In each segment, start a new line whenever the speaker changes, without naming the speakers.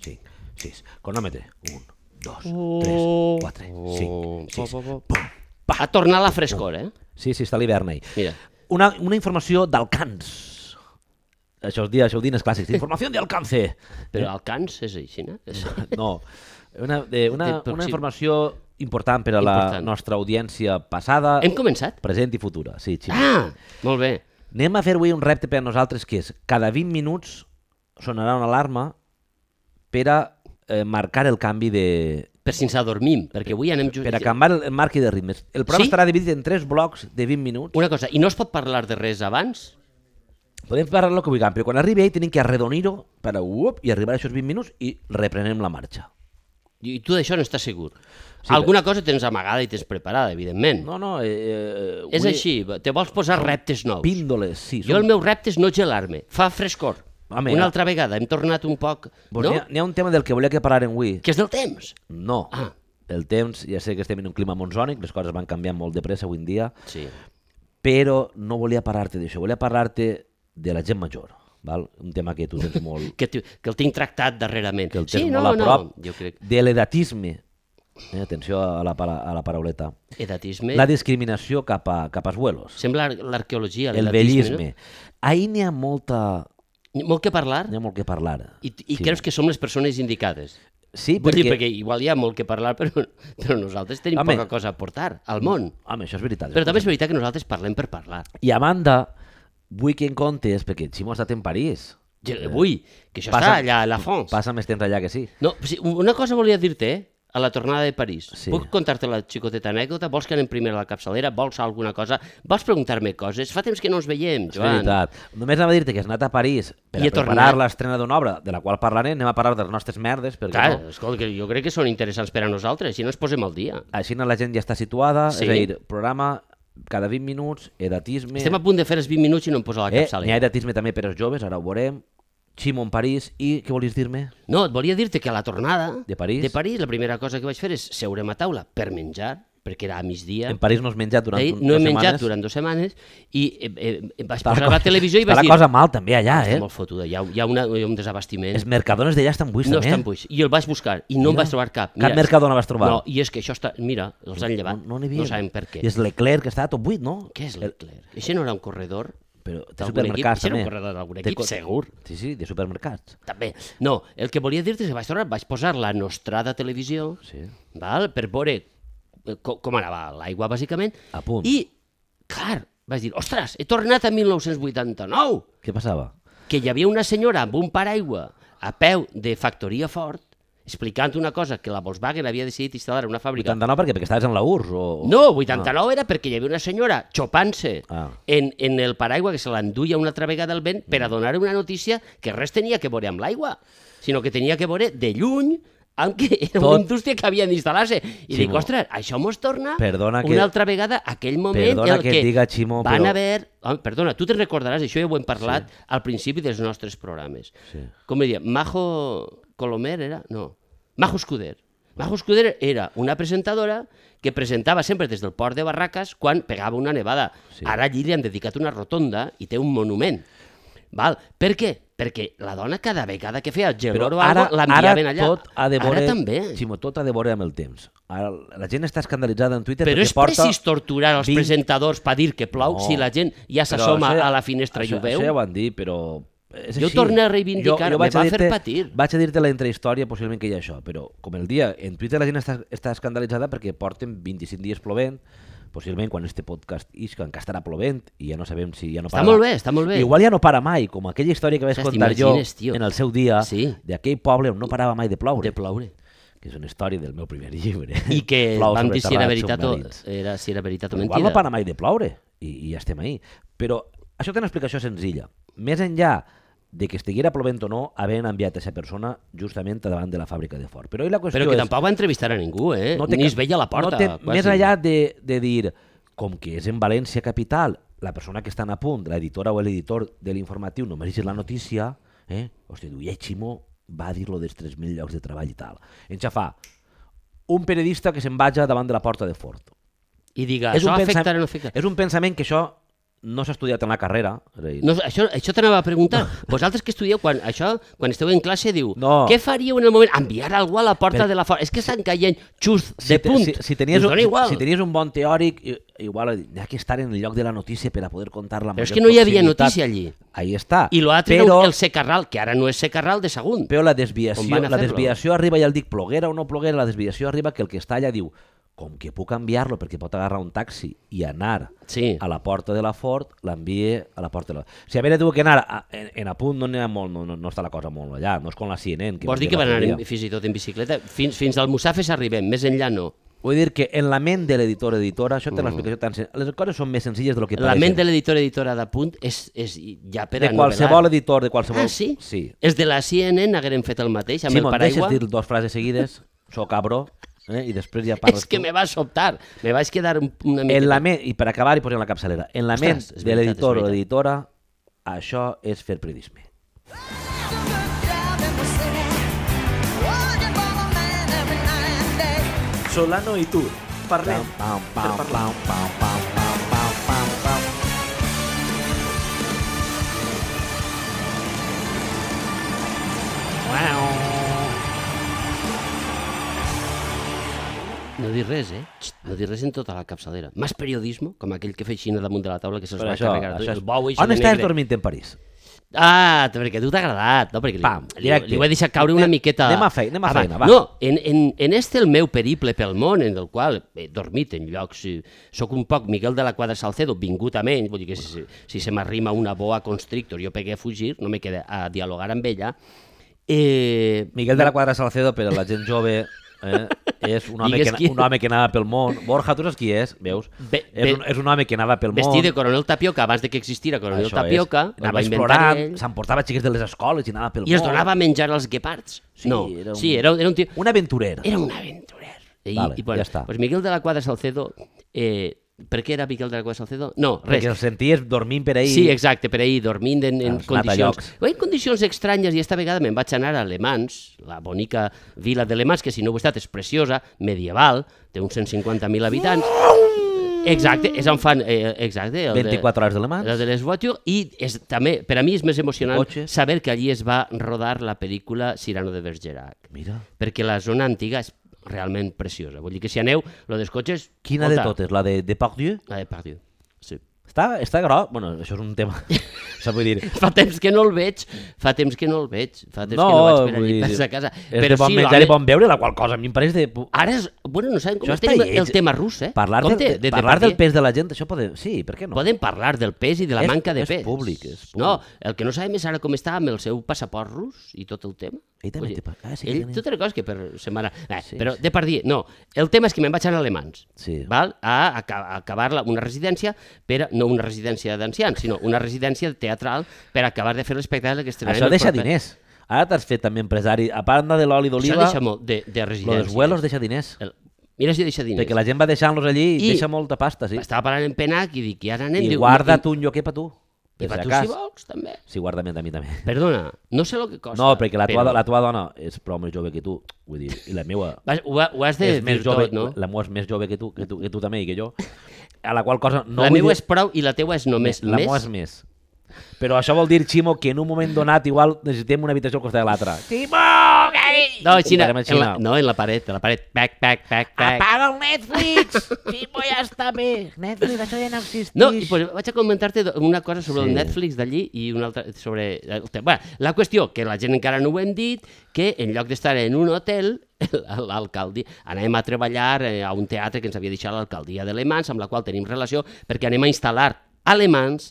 5, 6. Cronòmetre. 1, 2, 3,
Oh.
4, 5,
Oh.
6.
Pa, pa, pa.
Pum,
A tornar la frescor, eh?
Sí, sí, està l'hivern ahí.
Mira.
Una, una informació d'alcans. Això els dies, això els dines clàssics. Informació d'alcance.
Però el cans és així, no? És...
No, una, de,
De
una, una
proxim-
informació important per a la
Eh, Important.
nostra audiència passada,
Hem començat?
present i futura. Sí, sí.
Ah, molt bé.
Anem a fer avui un repte per a nosaltres que és cada 20 minuts sonarà una alarma per a eh, marcar el canvi de...
Per si ens adormim, perquè avui anem just...
per a canviar el, el marqui de ritmes. El programa
Sí?
estarà dividit en tres blocs de 20 minuts.
Una cosa, i no es pot parlar de res abans?
Podem parlar lo que vulguem, però quan arribi ahí tenim que arredonir-ho per a uop, i arribar a aquests 20 minuts i reprenem la marxa.
I tu d'això no estàs segur.
Sí,
Alguna cosa tens amagada i tens preparada, evidentment.
No, no, eh, eh,
és
avui-
així, te vols posar reptes nous.
Píndoles, sí.
Jo el meu repte és no gelar-me, fa frescor.
Home,
Una
no.
altra vegada, hem tornat un poc,
Pues
no?
n'hi ha, n'hi ha un tema del que volia que parlàrem avui.
Que és del temps.
No.
Ah.
El temps, ja sé que estem en un clima monsònic, les coses van canviant molt de pressa avui en dia,
Sí.
però no volia parlar-te d'això, volia parlar-te de la gent major, val? un tema que tu tens molt...
Que, t- que el tinc tractat darrerament.
que el tens
sí, no,
molt a prop,
no, jo crec.
de l'edatisme, eh, atenció a la, para- a la parauleta,
Edatisme,
la discriminació cap, a, cap als vuelos,
sembla ar- l'arqueologia,
el
l'edatisme,
vellisme. Ahir n'hi ha, molta,
no? Molt que parlar
n'hi ha molt que parlar.
i, i creus que som les persones indicades.
Sí,
Vull
perquè...
dir, perquè igual hi ha molt que parlar, però, però nosaltres tenim
Home.
poca cosa a portar al món.
Home, això és veritat. eh?
Però també és veritat que nosaltres parlem per parlar.
I a banda, vull que en comptes, perquè Ximo ha estat en París.
Jo, avui, que això
Eh, Passa-
està allà a la France.
Passa més temps allà que sí.
No, sí, una cosa volia dir-te, eh? a la tornada de París.
Sí.
Sí. Puc contar-te la xicoteta anècdota? Vols que anem primer a la capçalera? Vols alguna cosa? Vols preguntar-me coses? Fa temps que no ens veiem,
És
Joan.
veritat. Només anava a dir-te que has anat a París per
I
a
he tornat.
preparar l'estrena d'una obra de la qual parlarem, anem a parlar de les nostres merdes, perquè
Clar,
no?
escolta, que jo crec que són interessants per a nosaltres, si no ens posem al dia.
així la gent ja està situada,
Sí.
és a dir, programa cada 20 minuts, edatisme...
Estem a punt de fer els 20 minuts i no em posa la
eh, N'hi ha
capçalera.
edatisme també per als joves, ara ho veurem, Ximo en París, i què volies dir-me?
No, et volia dir-te que a la tornada
De París?
de París la primera cosa que vaig fer és seurem a taula per menjar, perquè era a migdia.
En París no has menjat durant
Eh,
un-
no he
dues
menjat
setmanes.
durant dues setmanes i eh, eh, em vaig
Està
posar la televisió i
està
vaig dir...
la cosa mal també allà,
Està
eh?
molt fotuda, hi ha, hi ha una, hi ha un desabastiment.
Els mercadones d'allà estan buits,
No
també. eh?
estan buits. I el vaig buscar i no en vaig trobar cap.
Cap Mercadona vas trobar?
No, i és que això està... Mira, els han llevat.
No, no n'hi havia.
no sabem per què.
I és l'Eclerc que estava tot buit, no?
Què és l'Eclerc? Això no era un corredor?
Però de
D'algun
supermercats
equip? Això era
també.
un corredor d'algun
De
equip,
co-
segur.
Sí, sí, de supermercats.
També. No, el que volia dir-te és que vaig tornar, vaig posar la nostrada televisió
Sí.
val? per veure eh, co- com anava l'aigua, bàsicament.
A punt.
I, clar, vaig dir, ostres, he tornat a 1989!
Què passava?
que hi havia una senyora amb un paraigua a peu de factoria Ford explicant una cosa que la Volkswagen havia decidit instal·lar en una fàbrica.
89 perquè, perquè estaves en la URSS o...
No, 89 era perquè hi havia una senyora xopant-se
Ah. Mm.
en, en el paraigua que se l'enduia una altra vegada al vent per a donar una notícia que res tenia que veure amb l'aigua, sinó que tenia que veure de lluny amb que era
Tot-
una indústria que havia d'instal·lar-se. I
Ximo,
dic, ostres, això mos torna
perdona que-
una altra vegada a aquell moment
Perdona
en el
que
que,
et diga, Ximo,
van
però-
haver... Home, perdona, tu te'n recordaràs, això ja ho hem parlat al principi dels nostres programes.
Sí.
Com diria, Majo Colomer era? No, Majo Escuder. Majo Escuder era una presentadora que presentava sempre des del port de Barraques quan pegava una nevada.
Sí.
Sí. Ara allí li han dedicat una rotonda i té un monument. Val? Per què? Perquè la dona cada vegada que feia
Però
gelor o
ara,
algo,
ara
l'enviaven allà.
tot ha de veure...
Ara també.
Ximo, tot ha de veure amb el temps. Ara, la gent està escandalitzada en Twitter
Però
perquè
és
porta...
precís torturar els
20
presentadors per dir que plou
No.
si la gent
Però
ja s'assoma
això ja-
a la finestra i
això,
ho veu?
Això ja ho van dir, però... És
Jo
així.
torno a reivindicar, me
vaig a
va fer
dir-te-
patir.
Vaig a dir-te la entrehistòria, possiblement que hi ha això, però com el dia, en Twitter la gent està, està escandalitzada perquè porten 25 dies plovent, possiblement quan este podcast isca encara estarà plovent i ja no sabem si ja no
Està
para.
molt bé, està molt bé.
Igual ja no para mai, com aquella història que vaig
Ostres,
contar jo
t'imagines, tio.
en el seu dia
Sí.
d'aquell poble on no parava mai de ploure,
De ploure.
que és una història del meu primer llibre.
I que
Plou
vam
sobre
dir si era
terrats
veritat o,
submarins.
era, si era veritat o
Però
mentida.
Igual no para mai de ploure i, i ja estem ahí. Però això té una explicació senzilla. Més enllà de que estiguera plovent o no, havent enviat aquesta persona justament a davant de la fàbrica de Ford. Però, i la qüestió
Però que
és,
tampoc va entrevistar a ningú, eh? No
té
Ni
cap-
es veia a la porta.
No té,
quasi.
més enllà de, de dir, com que és en València capital, la persona que està a punt, l'editora o l'editor de l'informatiu, només llegeix la notícia, eh? Hòstia, diu, i Ximo va dir lo dels 3.000 llocs de treball i tal. En ja fa un periodista que se'n vaja davant de la porta de Ford
I diga, Ah, això
pensam-
afecta o no afecta.
és un pensament que això no s'ha estudiat en la carrera. És a dir,
No, això això t'anava a preguntar. Vosaltres que estudieu, quan, això, quan esteu en classe, diu,
No.
què faríeu en el moment? Enviar algú a la porta de la fora. És que estan caient xust de
te-
punt.
Si, si, tenies,
Us
un,
dona igual.
si tenies un bon teòric, i- igual hi ha que estar en el lloc de la notícia per a poder contar la
Però és
major
que no hi havia
proximitat.
notícia allí.
Ahí està.
I l'altre era
però,
un- el Secarral, que ara no és Secarral de Sagunt.
però la
On
desviació,
van a
la
fer-lo?
desviació arriba, ja el dic, ploguera o no ploguera, la desviació arriba que el que està allà diu com que puc enviar-lo perquè pot agarrar un taxi i anar
Sí.
a la porta de la Ford, l'envie a la porta de la... Si a veure, diu que anar a, en, en a punt no, n'hi ha molt, no, no, no, està la cosa molt allà, no és com la CNN. Que
Vols dir
envia
que
la
van anar
teoria.
en- fins i tot en bicicleta? Fins, fins al Musafes arribem, més enllà no.
Vull dir que en la ment de l'editor editora, això té l'explicació tan sen- Les coses són més senzilles del que
Mm. La
pareixen.
ment de l'editor-editora de punt és, és ja per
de
a
qualsevol
novel·lar.
editor, de qualsevol...
Ah, sí?
Sí.
Els de la CNN hagueren fet el mateix amb
Si
el
me'n
paraigua.
deixes dir dues frases seguides, sóc cabró, eh? i després ja parles
És que
tu.
me va sobtar. Me vaig quedar un- una mica...
En la ment, I per acabar hi posem la capçalera. En la
Ostres,
ment
és
de
veritat,
l'editor
és
o
veritat.
l'editora, això és fer periodisme.
Solano i tu, parlem.
Pam, pam, pam,
Per parlar.
pam, pam, pam, pam, pam, pam, pam.
No dir res, eh? Xt, No dir res en tota la capçalera. Más periodismo, com aquell que feia Xina damunt de la taula que se'ls
Però
va
això,
carregar.
això és...
El bou i
On
de
estàs
negre.
dormint en París?
Ah, perquè a tu t'ha agradat, no? Perquè li,
Pam,
li,
directe.
li, ho he deixat caure una
Anem-
miqueta...
anem a fei- anem a
Ah, va.
feina, va.
No, en, en, en este el meu periple pel món, en el qual he dormit en llocs... eh, Soc un poc Miguel de la Quadra Salcedo, vingut a menys, vull dir que si, si, si se m'arrima una boa constrictor, jo pegué a fugir, no me queda a dialogar amb ella, eh,
Miguel de la Quadra Salcedo, per a la gent jove, eh, és un home,
Digues
que,
qui-
un home que anava pel món. Borja, tu saps qui és, veus?
Ve-
és,
ve-
un, és un home que anava pel món.
vestit de coronel Tapioca, abans de que existira coronel
Això
Tapioca,
és.
el va
Anava
inventar
explorant,
ell,
s'emportava xiques de les escoles i anava pel
i es
món.
donava a menjar als guepards.
Sí,
no,
era un-
sí, era, era un tio...
Un aventurer.
Era un aventurer. I,
Vale,
i, bueno,
ja està.
Pues Miguel de la Quadra Salcedo... Eh, per què era Miguel de la Quadra Salcedo? No, res.
Perquè el senties dormint per ahir.
Sí, exacte, per ahir, dormint en, en
Has anat a
condicions...
llocs.
En condicions estranyes, i esta vegada me'n vaig anar a Alemans, la bonica vila d'Alemans, que si no heu estat és preciosa, medieval, té uns 150.000 habitants. Exacte, és on fan... Eh, exacte, el
24
de,
hores de la
La de les voitures, i és, també, per a mi és més emocionant
Cotxes.
saber que allí es va rodar la pel·lícula Cyrano de Bergerac
Mira.
perquè la zona antiga és realment preciosa. Vull dir que si aneu, lo dels cotxes...
Quina de totes? La de Depardieu?
La de Pardieu. Sí.
Està, està groc? Bueno, això és un tema... Això vull dir...
Fa temps que no el veig, fa temps que no el veig, fa temps
No,
que no vaig per
vull
allí,
dir,
per sa casa.
És de bon menjar
l'home-
i bon beure, la qual cosa a mi em pareix de... pu-
Ara, és, bueno, no sabem com
Això està
tenim
lleig.
el tema rus, Ah, eh?
Parlar,
Compte,
del,
de
parlar del
Depardieu.
pes de la gent, això podem... Sí, per què no?
Podem parlar del pes i de la
És-
manca de
és
pes.
públic, és públic.
No, el que no sabem és ara com està amb el seu passaport rus i tot el tema.
Ell també
Vull dir,
té pa- ah, sí que
ell,
tenia.
tota la cosa que per setmana... Eh,
Sí,
sí, però de per dir, no, el tema és que me'n vaig anar a Alemans,
Sí.
val? a, aca- a acabar la, una residència, per, no una residència d'ancians, sinó una residència teatral per acabar de fer l'espectacle que estrenarem.
Això
el
deixa
proper-
diners. Ara t'has fet també empresari. A part de l'oli
Això
d'oliva,
deixa molt de, de
lo
residència.
dels vuelos deixa diners.
El, mira si deixa diners.
Perquè la gent va deixant-los allí i,
I-
deixa molta pasta, sí.
Estava parlant en Penac i dic, i ara anem...
I
diu,
guarda
i,
tu un lloquer per tu.
I,
per
i per
si
tu
cas.
si vols, també.
Sí, guarda a mi també.
Perdona, no sé el que costa.
No, perquè la tua,
però
la tua dona és prou més jove que tu, vull dir, i la meva
Vas, ho, ha- ho has de
és més
dir
jove,
tot, no?
la meva és més jove que tu, que tu, que tu també i que jo, a la qual cosa no
la
vull
meva
dir-
és prou i la teua és només
la meva
més.
és més. Però això vol dir, Ximo, que en un moment donat igual necessitem una habitació al costat de l'altra. Ximo, que...
No,
Comparem
Xina,
a
en la,
Xina. Ah,
no, en la paret, a la paret. Pac, pac, pac, pac.
Apaga el Netflix! Ximo, ja està bé. Netflix, això ja no existeix.
No, i pues, vaig a comentar-te do- una cosa sobre sí.
Sí.
el Netflix d'allí i una altra sobre... eh, El te- Bé, la qüestió, que la gent encara no ho hem dit, que en lloc d'estar en un hotel, l'alcaldia, anem a treballar eh, a un teatre que ens havia deixat l'alcaldia d'Alemans, amb la qual tenim relació, perquè anem a instal·lar alemans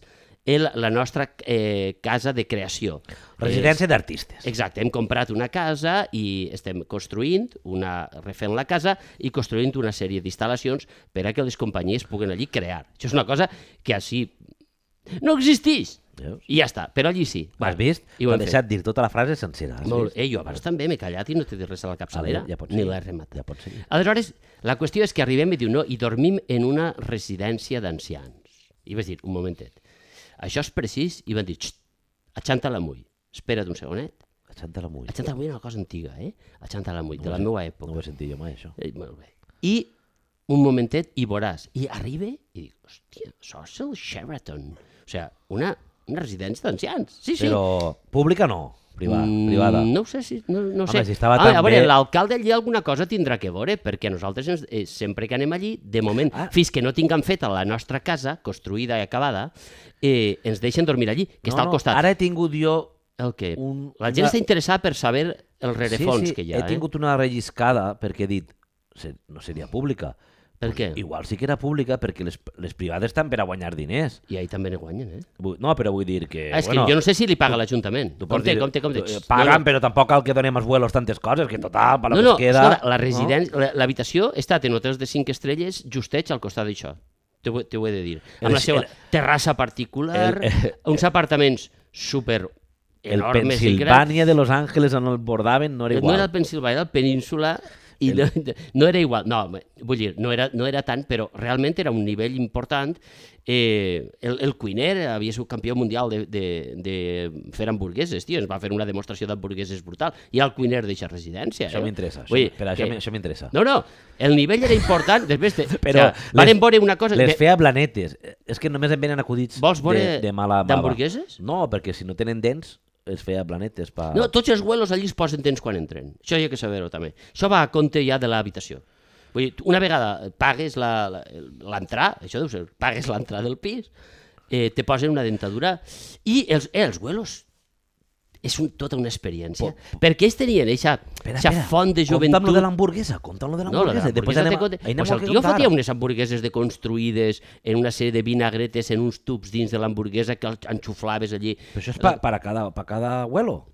el, la nostra eh, casa de creació.
Residència d'artistes.
Exacte, hem comprat una casa i estem construint, una, refent la casa i construint una sèrie d'instal·lacions per a que les companyies puguen allí crear. Això és una cosa que així no existeix.
Veus?
I ja està, però allí sí.
Has vist?
I ho
T'ha
hem
deixat dir tota la frase sencera. has
fet. Molt,
vist?
eh, jo abans també m'he callat i no t'he dit res a la capçalera,
Ah, ja pots
ni
seguir.
l'he rematat.
Ja pots seguir.
Aleshores, la qüestió és que arribem i diu, no, i dormim en una residència d'ancians. I vas dir, un momentet, això és precís? I van dir, "Xt, aixanta la mull, espera't un segonet,
Aixanta la mull.
el Xantal Mull era una cosa antiga, eh? El Xantal Mull, de la
sé.
meva
No
època.
ho he sentit jo mai, això.
Eh, molt bé. I un momentet i veuràs. I arriba i dic, hòstia, això és el Sheraton. O sigui, una, una residència d'ancians. Sí, sí.
Però pública no, privada.
Mm,
privada.
No ho sé, si, no, no ho
Home,
sé.
si estava
ah,
tan
a veure,
bé-
l'alcalde allí alguna cosa tindrà que veure, perquè nosaltres ens, eh, sempre que anem allí, de moment,
Ah.
ah. fins que no tinguem feta la nostra casa, construïda i acabada, eh, ens deixen dormir allí, que no, està al costat.
Ara he tingut jo...
El que...
Un-
la gent
una-
està interessada per saber el rerefons que hi ha. eh?
he tingut una relliscada perquè he dit "Se- no seria pública.
Per què?
Igual sí que era pública perquè les, les privades estan per a guanyar diners.
eh? I ahí també ne guanyen, eh?
Vull- No, però vull dir que...
Ah, és
Eh, bueno,
que jo no sé si li paga l'Ajuntament.
tu pots
Compte,
dir,
compte, compte.
eh, Paguen,
No, no.
però tampoc cal que donem als vuelos tantes coses, que total, per la
No, no,
que queda...
escolta, la residència, no? l'habitació ha estat en hotels de 5 estrelles justets al costat d'això. T'ho he- t'ho he de dir. Amb
El-
la seva
el-
terrassa particular,
el- eh,
uns apartaments super
El
enormes i grans.
Pensilvània de Los Angeles on el bordaven no era
No
igual.
era el Pensilvània, era el Península, i no, no era igual, no, vull dir, no era, no era tant, però realment era un nivell important. Eh, el, el cuiner havia sigut campió mundial de, de, de fer hamburgueses, tio, ens va fer una demostració d'hamburgueses brutal, i el cuiner deixa residència.
Això
eh?
m'interessa, això,
Vull dir
per això,
que-
m- això m'interessa.
No, no, el nivell era important, després de,
Però
però o sigui, varen
les-
veure una cosa...
Les
de-
feia planetes. Eh, És que només em venen acudits
Vols veure
de, de mala mava.
d'hamburgueses?
No, perquè si no tenen dents, els feia planetes. Pa...
No, tots els vuelos allí es posen temps quan entren. Això hi ha que saber-ho també. Això va a compte ja de l'habitació. Vull dir, una vegada pagues la- la- l'entrada, això deu ser, pagues l'entrada del pis, eh, te posen una dentadura i els, eh, els vuelos és un, tota una experiència. perquè ells tenien eixa, eixa font de
Compta'm lo de
joventut
l'hamburguesa, compta'm lo de
No, la de
l'hamburguesa.
l'hamburguesa
Després anem,
té compte.
anem
Pues el tio fotia unes hamburgueses deconstruïdes en una sèrie de vinagretes en uns tubs dins de l'hamburguesa que el enxuflaves allí.
Però això és pa, per, a cada, per a cada huelo.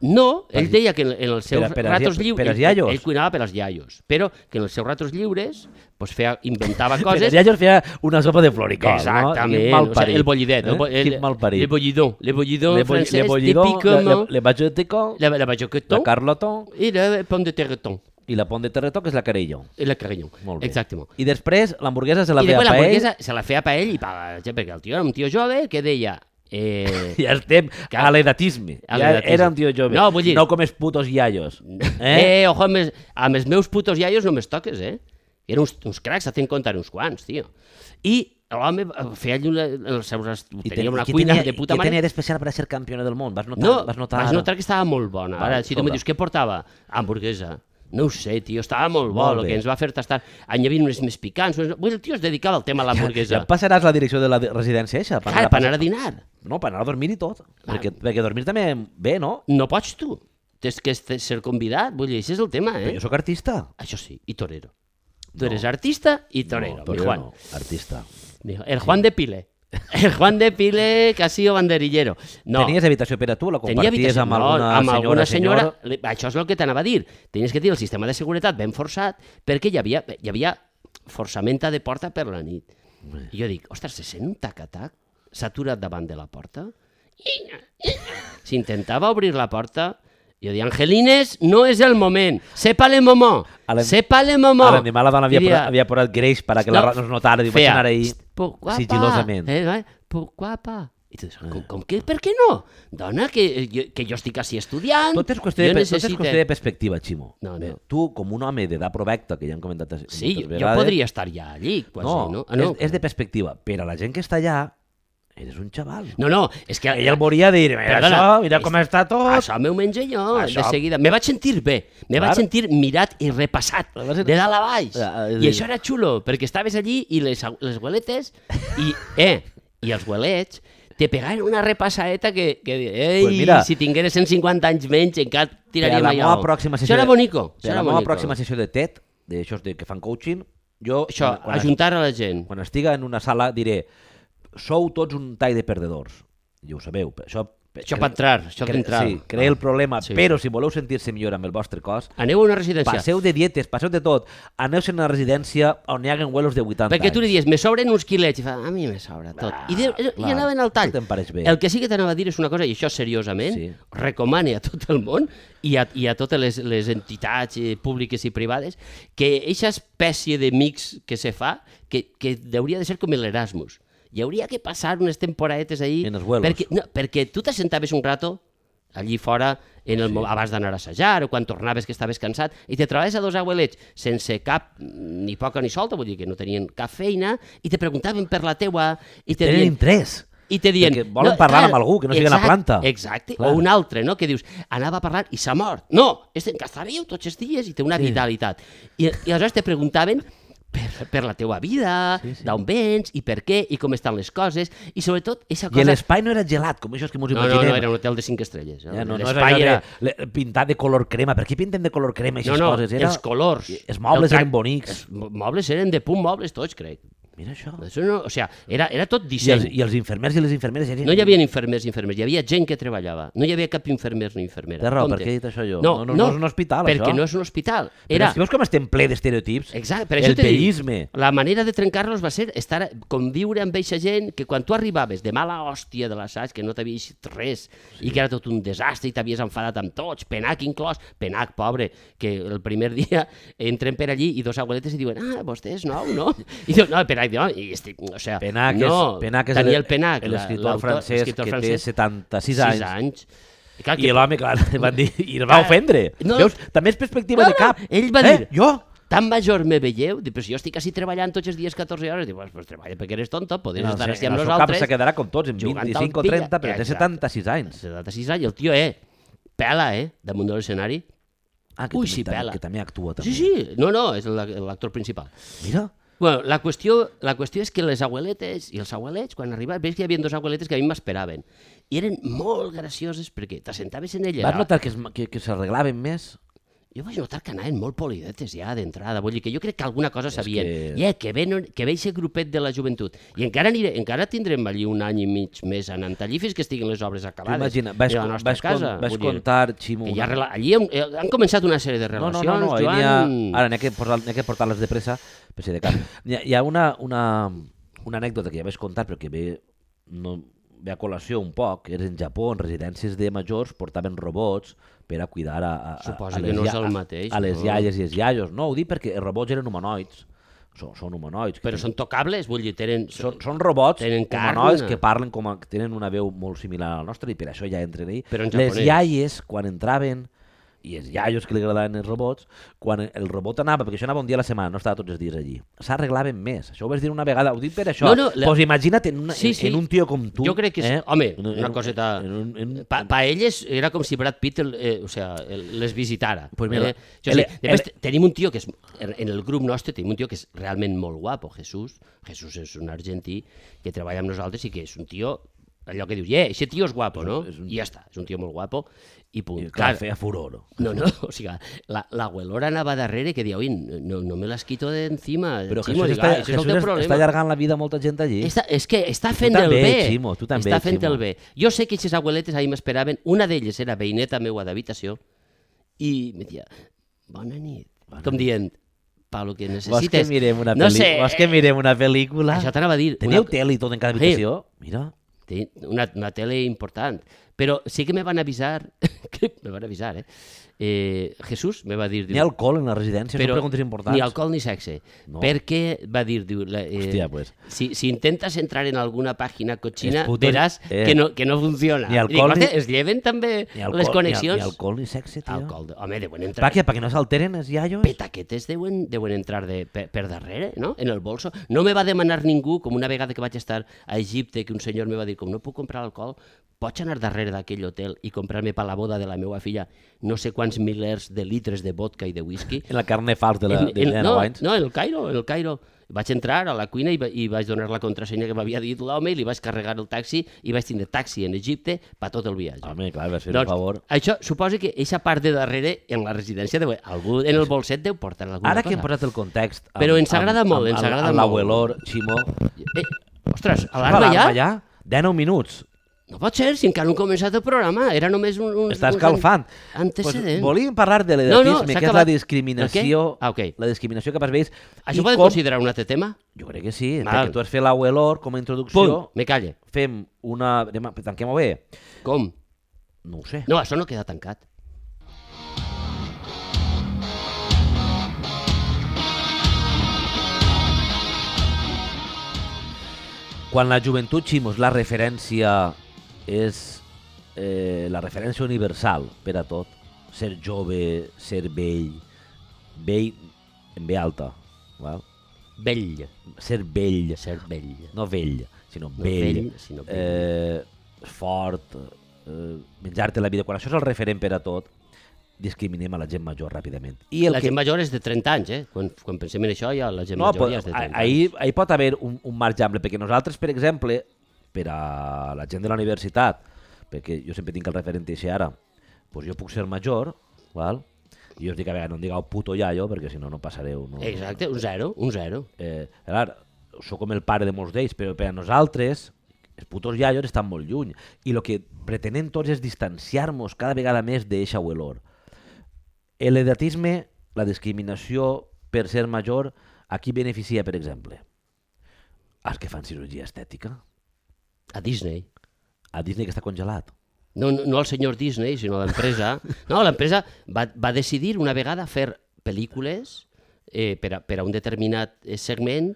No, ell deia que en, en els seus
per a- per als
ratos
ia-
lliures...
per als iaios.
Ell, ell cuinava per als iaios, però que en els seus ratos lliures pues, feia, inventava coses...
Coses... Ja jo feia una sopa de floricol,
Exactament,
no? Quin
o sigui,
malparit,
el bollidet, el, bo-
Eh?
el,
Quin malparit.
le bollidó, le bollidó
Le bo-
francès,
le bollidó,
típicament,
le, le, bajotico,
la, la, bajoquetó
la carlotó
i la pomme de terretó,
i la pont de terretó, que és la carelló.
i la carrelló,
Molt bé.
exactament.
I després l'hamburguesa se la
I
feia
després
paella.
l'hamburguesa se la feia paella i paga, perquè el tio era un tio jove que deia... Eh,
Ja estem
Clar.
a l'edatisme. Ja
A l'edatisme.
era un tio jove.
No, vull dir-
no com els putos iaios. Eh?
Eh, eh ojo, amb els, amb els meus putos iaios no me'ls toques, eh? Eren uns, uns cracs, a tenir en compte, eren uns quants, tio. I l'home eh, feia allí una, els seus... es- Tenia una
què
cuina
tenia,
de puta
Què tenia
mare.
d'especial per a ser campió del món? Vas notar,
No,
vas notar...
vaig notar que estava molt bona.
Vale,
Ara, si tu
escolta.
me dius què portava, hamburguesa. No ho sé, tio, estava molt bo
Molt
el
bé.
que ens va fer tastar. Any hi havia unes més picants. Unes... Vull dir, el tio es dedicava al tema de
Ja
l'hamburguesa.
passaràs la direcció de la de- residència eixa?
Clar, per anar a dinar.
No, per anar a dormir i tot. Perquè, perquè dormir també bé, no?
No pots tu. Tens que este- ser convidat. Vull dir, això és el tema,
Però
eh?
jo sóc artista.
Això sí, i torero. Tu eres artista i torero, mi
torero
Juan.
no, artista.
Dijo, el Juan de Pile. El Juan de Pile que ha sido banderillero. No,
Tenies habitació per a tu? La
tenia
comparties amb alguna,
no, amb
senyora,
alguna senyora,
senyor?
li- Això és el que t'anava a dir. Tenies que tenir el sistema de seguretat ben forçat perquè hi havia, hi havia forçamenta de porta per la nit. I jo dic, ostres, se sent un tac-a-tac? S'ha aturat davant de la porta? S'intentava obrir la porta jo dic, Angelines, no és el moment. Sepale momó.
A l'en-
Sepale momó.
Ara, mi mala dona havia,
I diria,
posat, havia posat greix per a que la rata no es notara. Diu, vaig
feia,
anar ahí
"Psst, po, guapa,
sigilosament. Eh.
Eh, vai, po, guapa. I tu dius, com, com que, per què no? Dona, que, jo, que jo estic així estudiant.
Tot és qüestió, de,
jo
pe- tot és
necessite-
qüestió de perspectiva, Ximo.
No, no.
Eh, Tu, com un home d'edat provecta, que ja hem comentat moltes
Sí, jo,
vegades...
jo podria estar ja allí, quasi,
No,
no? Ah, no.
És, és de perspectiva. Per a la gent que està allà, eres un xaval.
no, no, és que...
Ell el volia dir, mira
Perdona,
això, mira
és-
com està tot...
Això m'ho menjo jo,
Això-
de seguida. Me vaig sentir bé, me
Clar.
vaig sentir mirat i repassat,
Vas ser-
de dalt a baix.
Ah, és a
I
dir-
això era xulo, perquè estaves allí i les, au- les hueletes, i, eh, i els huelets, te pegaven una repassaeta que, que ei,
Pues mira-
si tingueres 150 anys menys encara tiraria
per a la
mai
meva pròxima sessió...
Això era
de-
bonico.
Per
Això
a
era
la meva
bonico.
pròxima sessió de TED, d'això de que fan coaching, jo,
Això,
quan, quan,
ajuntar a la gent.
quan estiga en una sala, diré sou tots un tall de perdedors. Ja ho sabeu. per Això,
Això per entrar, això per
cre-
entrar. Ah,
Sí, crea el problema,
Sí.
però si voleu sentir-se millor amb el vostre cos,
Aneu a una residència.
Passeu de dietes, passeu de tot. Aneu a una residència on hi haguen vuelos de 80
Perquè tu li
anys.
dius, me sobren uns quilets, i fa, a mi me sobra tot. I, de,
clar,
I anaven al tall.
tot em pareix bé.
El que sí que t'anava a dir és una cosa, i això seriosament,
Sí.
sí. recomane a tot el món i a, i a totes les, les entitats eh, públiques i privades, que eixa espècie de mix que se fa, que, que hauria de ser com l'Erasmus. Hi hauria que passar unes temporadetes ahí...
En els vuelos.
Perquè, no, perquè tu t'assentaves un rato allí fora, en el, sí. abans d'anar a assajar o quan tornaves que estaves cansat i te trebaves a dos abuelets sense cap mm, ni poca ni solta, vull dir que no tenien cap feina i te preguntaven per la teua i te
Tenen
dient,
interès.
i te dient...
Perquè volen parlar amb algú, que no sigui una planta.
Exacte,
Clar.
o un altre, no?, que dius, anava parlant i s'ha mort. No, és en està viu tots els dies i té una
Sí.
vitalitat. I, I aleshores te preguntaven per, per la teua vida,
Sí, sí.
d'on vens, i per què, i com estan les coses, i sobretot, aquesta
I
cosa...
l'espai no era gelat, com això que mos
No, no,
imaginem.
no, era un hotel de 5 estrelles. eh?
Ja, no, no és allò
L'espai
era...
era...
de le- pintar de color crema. Per què pinten de color crema
No,
aquestes
no,
coses? Era...
els colors.
Els mobles
el tra-
eren bonics.
Els mo- mobles eren de punt mobles tots, crec.
Mira això.
Això no, o sigui, era, era tot
I els,
disseny.
I els infermers i les infermeres... Ja...
No hi havia infermers i infermers, hi havia gent que treballava. No hi havia cap infermer ni infermera.
Té raó,
Compte.
per què he dit això jo? No, no, no és un hospital,
perquè
això.
no és un hospital.
Era...
Era...
Però si veus com estem ple d'estereotips?
Exacte, per això
El
t'he dit,
pellisme.
La manera de trencar-los va ser estar, conviure amb eixa gent que quan tu arribaves de mala hòstia de l'assaig, que no t'havia eixit res sí. i que era tot un desastre i t'havies enfadat amb tots, Penac inclòs, Penac, pobre, que el primer dia entren per allí i dos abueletes i diuen ah, vostè és nou, no? I diu, no, Penac, no, i estic, o sea,
Penac
no,
és, Penac és
Daniel
el-
Penac, la-
l'escriptor
l'autor-
francès
l'escriptor
que té
francès,
76
sis
anys.
anys. I, clar,
I
que
l'home, clar, li van dir... I el va ofendre.
No.
Veus? També és perspectiva
No,
de
no,
cap.
ell va
eh,
dir-
Jo?
tan major me veieu? Dic, però si jo estic quasi treballant tots els dies 14 hores. Dic, pues, pues treballa perquè eres tonto, podries
No,
estar
sí,
així amb
el seu
nosaltres.
cap se quedarà com tots, en
jugant al
25 o
pilla.
30, però té
Exacte.
76 anys.
76 anys, el tio, eh, pela, eh, damunt de l'escenari.
Ah,
Ui,
també-
si
també-
pela.
Que també actua, també.
Sí, sí, no, no, és la- l'actor principal.
Mira,
Bueno, la qüestió, la qüestió és que les abueletes i els abuelets, quan arribaven, veus que hi havia dos abueletes que a mi m'esperaven. I eren molt gracioses perquè t'assentaves en elles.
vas notar que es- que que s'arreglaven més?
Jo vaig notar que anaven molt polidetes ja d'entrada, vull dir que jo crec que alguna cosa sabien.
que-
Que... Yeah, que, ve, que ve aquest grupet de la joventut. I encara, aniré, encara tindrem allí un any i mig més anant allí fins que estiguin les obres
Tu
acabades.
Imagina, vas,
de la
con-
nostra
vas,
casa.
con, vas
vull dir,
contar, Ximo...
Que hi
una-
ha, rela- allí hem- eh, han començat una sèrie de
No, no,
relacions,
no, no, ahí n'hi ha...
Joan...
Ara n'hi ha que, posar, n'hi ha que portar-les de pressa, per si de cap. Hi ha, hi ha una, una, una anècdota que ja vaig contar, però que ve, no, ve a col·lació un poc, que és en Japó, en residències de majors portaven robots per a cuidar a, a, a,
Suposo
a,
que
les,
no és
ia-
el
a-
mateix,
a les
no?
iaies i els iaios. No, ho dic perquè els robots eren humanoids, són, són humanoids. que
Però són tocables, vull dir, tenen...
són, són robots
Tenen carn,
humanoids
eh?
que parlen com a, que tenen una veu molt similar a la nostra i per això ja entren ahí.
Però en
Les
japonès.
iaies, quan entraven, i els iaios que li agradaven els robots, quan el robot anava, perquè això anava un dia a la setmana, no estava tots els dies allí, s'arreglaven més. Això ho vas dir una vegada, ho dic per això.
No, no, la-
pues imagina't en, una,
Sí,
en-
sí.
en un tio com tu.
Jo crec que és-
eh?
home,
En un-
una
en un-
coseta- Eh,
En un, en un,
Pa, pa elles era com si Brad Pitt el, eh, o sea, el, les visitara.
Pues mira,
eh? Jo
el-
sé, després
el-
te- tenim un tio que és, en el grup nostre tenim un tio que és realment molt guapo, Jesús. Jesús és un argentí que treballa amb nosaltres i que és un tio allò que dius, eh, yeah, aquest tio és guapo, no?
És un-
I ja està, és un tio molt guapo i punt.
i clar, feia furor.
No, no, o sigui, la, la abuelora anava darrere que dia, oi, no, no me las quito de encima,
Però
Ximo,
Jesús,
dic,
està,
"Ah, això és el teu
Jesús està
problema.
allargant la vida a molta gent allí.
Està, és que està fent
també,
el bé.
Ximo, tu també,
està fent
Ximo.
el bé. Jo sé que aquestes abueletes ahir m'esperaven, una d'elles era veïneta meua d'habitació, i em dia, bona nit, bona com dient, Pablo, que
Vols que
necessites...
mirem una
no
pel·lícula?
sé, eh,
Vols que mirem una pel·lícula?
això t'anava a dir...
Teniu
una-
tele i tot en cada
Sí.
habitació? Mira.
Té una, una tele important. Però sí que me van avisar, que me van avisar, eh? eh Jesús me va dir...
Ni alcohol en la residència, però, són preguntes importants.
Ni alcohol ni sexe.
No.
No. Perquè va dir... Diu, la, eh,
Hòstia, pues.
si, si intentes entrar en alguna pàgina cochina,
Els putos-
veràs
eh.
que, no, que no funciona.
Ni alcohol ni-
I dic, "Hoste, Es lleven també
Ni alcohol,
les connexions.
Ni, al- ni alcohol ni sexe, tio.
Alcohol de- Home, deuen entrar...
Pa què? Pa que no s'alteren els iaios?
petaquetes deuen, deuen entrar de, per, per darrere, no? En el bolso. No me va demanar ningú, com una vegada que vaig estar a Egipte, que un senyor me va dir, com no puc comprar alcohol, pots anar darrere d'aquell hotel i comprar-me per la boda de la meva filla no sé quants milers de litres de vodka i de whisky?
En la carne fals de la, de
en,
la
no,
Wines.
no, en el Cairo, en el Cairo. Vaig entrar a la cuina i, va, i vaig donar la contrasenya que m'havia dit l'home i li vaig carregar el taxi i vaig tindre taxi en Egipte per tot el viatge.
Home, clar, vas fer
Doncs,
un favor.
Això suposa que aquesta part de darrere en la residència deu, algú en el bolset deu portar alguna
Ara
cosa.
que hem posat el context... amb-
Però ens
amb-
agrada molt,
amb-
ens
amb-
agrada
amb
molt.
l'abuelor, Ximo...
Eh, ostres, alarma ja? ja?
19 minuts.
No pot ser, si encara no hem començat el programa. Era només un... un
Està
uns
escalfant.
an-
Pues,
Antecedent.
volíem parlar de
No, no,
l'edatisme,
s'ha
que és la
acabat.
discriminació...
El què? Ah, ok.
La discriminació cap als vells.
Això
I
podem
com-
considerar un altre tema?
Jo crec que sí,
Val.
perquè tu has fet l'abuelor com a introducció.
Punt, me calle.
Fem una... anem a- Tanquem-ho bé?
Com?
No ho sé.
No, això no queda tancat.
Quan la joventut, Ximos, la referència és eh, la referència universal per a tot, ser jove, ser vell, vell en ve alta, val?
Vell.
ser vell,
Ser vell.
no vell, sinó
No
vell,
vell, sinó vell.
Eh, fort, eh, menjar-te la vida. Quan això és el referent per a tot, discriminem a la gent major ràpidament. I
La gent major és de 30 anys, eh? Quan, quan pensem en això, ja la gent
no,
major
pot,
ja és de 30 anys.
ahir, ahir pot haver un, un marge ample, perquè nosaltres, per exemple, per a la gent de la universitat, perquè jo sempre tinc el referent així ara, doncs jo puc ser major, val? i jo us dic, a veure, no em digueu puto iaio, perquè si no, no passareu. No,
Exacte, un zero, un zero.
Eh, clar, sóc com el pare de molts d'ells, però per a nosaltres els putos iaios estan molt lluny i el que pretenem tots és distanciar-nos cada vegada més d'eixa olor. L'edatisme, la discriminació per ser major, a qui beneficia, per exemple? Als que fan cirurgia estètica.
A Disney.
A Disney que està congelat.
No, no, no el senyor Disney, sinó l'empresa. No, l'empresa va, va decidir una vegada fer pel·lícules eh, per, a, per a un determinat eh, segment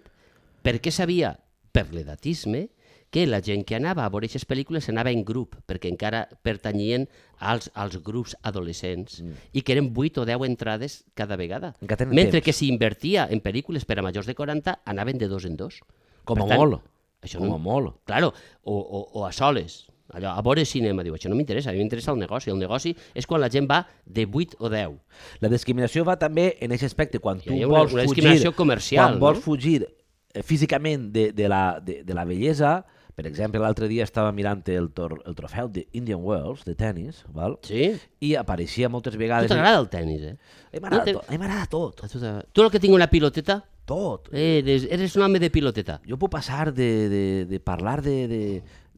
perquè sabia, per l'edatisme, que la gent que anava a veure aquestes pel·lícules anava en grup, perquè encara pertanyien als, als grups adolescents, mm. i que eren 8 o 10 entrades cada vegada.
Encara tenen
Mentre
temps.
que s'invertia en pel·lícules per a majors de 40, anaven de dos en dos.
Com
Per
a molt.
Això
Com
no,
a molt.
Claro, o, o, o a soles. Allò, a veure cinema, diu, això no m'interessa, a mi m'interessa el negoci. El negoci és quan la gent va de 8 o 10.
La discriminació va també en aquest aspecte, quan tu
Hi ha una-
vols
una discriminació
fugir,
comercial,
quan vols
no?
fugir eh, físicament de, de, la, de, de la bellesa, per exemple, l'altre dia estava mirant el, tor, el trofeu de Indian Wells de tennis, val?
Sí?
i apareixia moltes
A tu
vegades...
t'agrada el tennis, eh?
Eh, M'agrada
No te-
tot, eh, m'agrada tot,
A tu, t'agrada. tu el que tinc una piloteta,
tot.
eh, eres, eres un home de piloteta.
Jo puc passar de, de, de parlar de, de,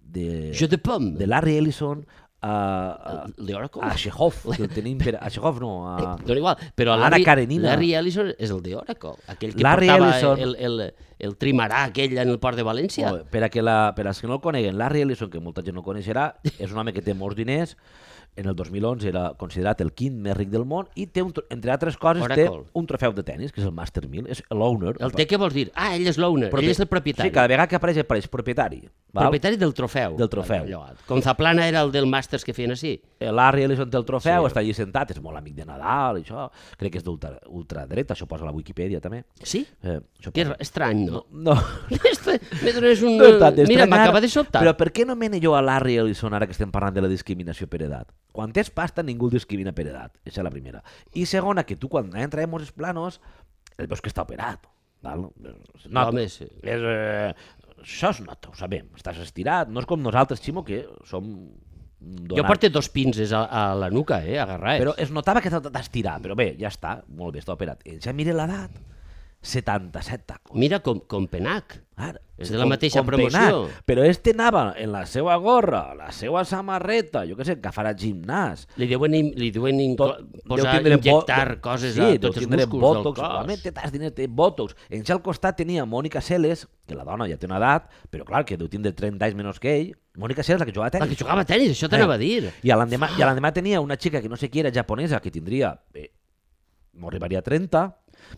de,
Jo de pom.
de Ah, Larry Ellison a, a,
L'Oracle?
a Chekhov, que el tenim per... A Chekhov no, a...
Dona igual, però
Anna
Larry,
Karenina.
Larry Ellison és el d'Oracle, aquell que
Larry
portava
Ellison.
el, el, el trimarà aquell en el port de València.
Oh, per, a que la, per als que no el coneguen, Larry Ellison, que molta gent no coneixerà, és un home que té molts diners, en el 2011 era considerat el quint més ric del món i té, un, tro- entre altres coses,
Oracle.
té un trofeu de tennis, que és el Master 1000, és l'owner.
el té, què vols dir? Ah, ell és l'owner, ell és el propietari.
Sí, cada vegada que apareix, apareix propietari. Val? propietari.
Propietari del trofeu.
Del trofeu.
Allò, com Zaplana era el del màsters que feien així.
Larry Ellison té el trofeu,
Sí.
està allí sentat, és molt amic de Nadal, i això. Crec que és d'ultra- ultradreta, això posa a la Wikipedia també.
Sí?
Eh, això
Que és
posa-
estrany, no?
No,
Este, me dones un...
No és tant
Mira,
d'estranyar,
m'acaba de sobtar.
Però per què no mene jo a Larry Ellison ara que estem parlant de la discriminació per edat? Quan tens pasta ningú el discrimina per edat. Això és la primera. I segona, que tu quan entra en molts planos el veus que està operat. Val? Es nota.
Home, sí.
És, eh, això es nota, ho sabem. Estàs estirat. No és com nosaltres, Ximo, que som donats.
Jo porto dos pinces a, a la nuca, eh, agarrats.
Però es notava que t'ha estirat, però bé, ja està, molt bé, està operat. I ja mire l'edat, 77 tacos.
Mira, com, com Penac.
Ara,
És de la mateixa promoció.
però este anava en la seva gorra, la seva samarreta, jo què sé, que farà gimnàs.
Li deuen, im- li deuen in,
Tot-
posar,
deu tindre bo-
injectar coses
sí,
a
deu
tots els
tindre
músculs
botox,
del cos.
Segurament té tants diners, té botox. En ja al costat tenia Mònica Seles, que la dona ja té una edat, però clar, que deu tindre 30 anys menys que ell. Mònica Seles, la que jugava a
La
tenis.
que jugava a tenis,
Eh.
això t'anava a dir.
I a l'endemà i a l'endemà tenia una xica que no sé qui era japonesa, que tindria... Eh, no arribaria a 30.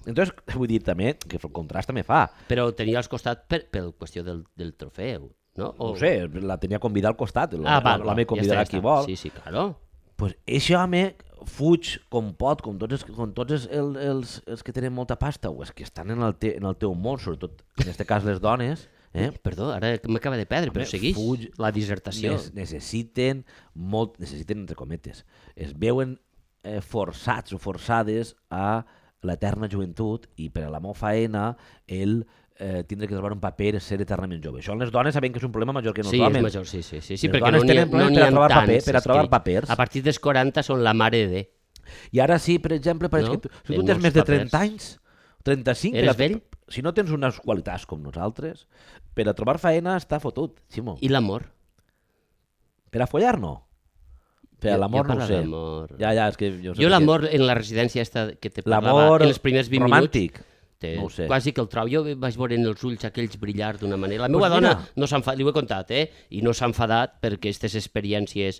Entonces, vull dir també que el contrast també fa.
Però tenia al costat per, pel qüestió del, del trofeu, no?
No ho sé, la tenia convidada al costat. La,
Oh. Ah, val,
la, la m'he
val,
convidat
ja està, ja
aquí
està.
vol.
Sí, sí, claro.
pues eixe home fuig com pot, com tots, els, com tots els, el- els, els que tenen molta pasta o els que estan en el, te, en el teu món, sobretot en este cas les dones, eh?
Perdó, ara m'acaba de perdre, però
Home,
segueix
fuig-
la dissertació.
Nes, necessiten molt, necessiten entre cometes, es veuen eh, forçats o forçades a l'eterna joventut i per a la meva faena el eh, tindre que trobar un paper és ser eternament jove. Això en les dones sabem que és un problema major que en els
Sí, és
homes.
major, sí, sí, sí, sí
Les
perquè
dones
no n'hi ha,
tenen
no
problemes per a
n'hi ha
trobar
tants.
paper, per a trobar
escrits.
papers.
A partir dels 40 són la mare de...
I ara sí, per exemple, pareix
No?
no? que tu, si tu
Té
tens
molts
més de
papers.
30 anys, 35...
Eres
per a-
vell?
Si no tens unes qualitats com nosaltres, per a trobar faena està fotut, Ximo. I...
I l'amor.
Per a follar no. Per a
Jo-
l'amor no
jo
ho
parlo
sé.
d'amor.
Ja, ja, és que jo, sé
Jo
que-
l'amor en la residència esta que te parlava
L'amor
en els primers 20
romàntic.
minuts te,
No ho sé.
quasi que el trobo. Jo vaig veure en els ulls aquells brillar d'una manera. La
Doncs
meva dona
mira.
no s'ha enfadat, li ho he contat, eh? I no s'ha enfadat perquè aquestes experiències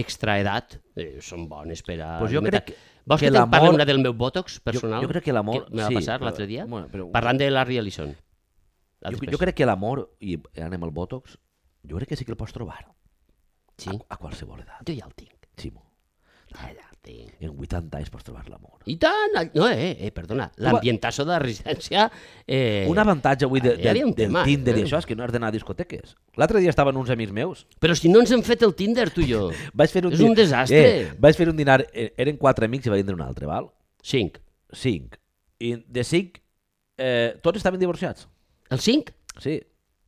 extraedat eh, són bones per a...
Pues jo
alimentar.
crec
Vols
que
que, te'n parli
l'amor-
una del meu bòtox personal?
jo crec que l'amor-
Me va
sí,
passar
però-
l'altre dia?
bueno, però-
Parlant de Larry Ellison.
Jo, jo crec que l'amor, i anem al bòtox, jo crec que sí que el pots trobar.
Sí.
a, a qualsevol edat.
Jo ja el tinc.
Ximo,
Ja, ja el tinc.
en 80 anys pots trobar l'amor.
I tant! all- No, eh, eh perdona. L'ambientació de la residència... Eh,
Un avantatge avui de,
hi
de,
havia un
del
tema,
Tinder i
eh?
això és que no has d'anar a discoteques. L'altre dia estaven uns amics meus
Però si no ens hem fet el Tinder, tu i jo.
Vaig fer un
És un
di-
desastre.
Eh, vaig fer un dinar, eh, eren quatre amics i va vindre un altre, val?
Cinc.
Cinc. I de cinc, eh, tots estaven divorciats.
El cinc?
Sí.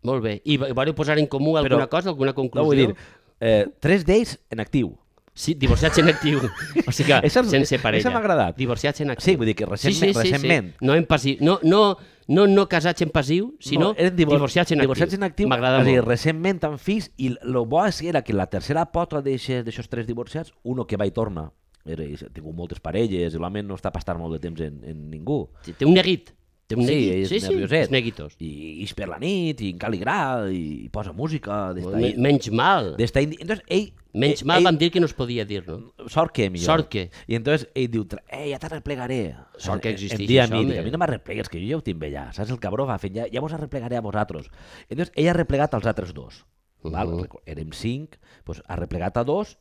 Molt bé. I va- vau posar en comú
Però-
alguna cosa, alguna
No
conclusió?
vull dir, eh, tres d'ells en actiu.
Sí, divorciats en actiu. O sigui que,
Això-
sense parella.
això m'ha agradat.
Divorciats en actiu.
Sí, vull dir que recentment- recentment.
No, en passiu, no, no, no, no casats en passiu, sinó
eren divor-
divorciats en actiu.
divorciats en actiu.
M'agrada
o sigui,
molt.
Recentment tan fills i el bo és que era que la tercera pota d'eixes- d'aixòs tres divorciats, uno que va i torna. Era, ha tingut moltes parelles i l'home no està per estar molt de temps en, en ningú.
Té un neguit. Té un
Sí,
neguit.
és
sí, sí,
nervioset.
és neguitós.
I ix per la nit, i encara li agrada, i, i posa música. d'esta-
Me- Menys mal.
d'esta indi- Entonces, ell,
Menys
ell-
mal
ell-
vam dir que no es podia dir, no?
Sort que, millor.
Sort que.
I entonces ell diu, "Tra- eh, ja t'arreplegaré.
Sort que
En- en
existeix
dia
això,
mític,
home.
a mi no m'arreplegues, que jo ja ho tinc bé ja. Saps? El cabró va fent, ja, ja vos arreplegaré a vosaltres. Entonces ell ha arreplegat als altres dos. Val?
Mhm.
Reco- Érem cinc, doncs ha arreplegat a dos,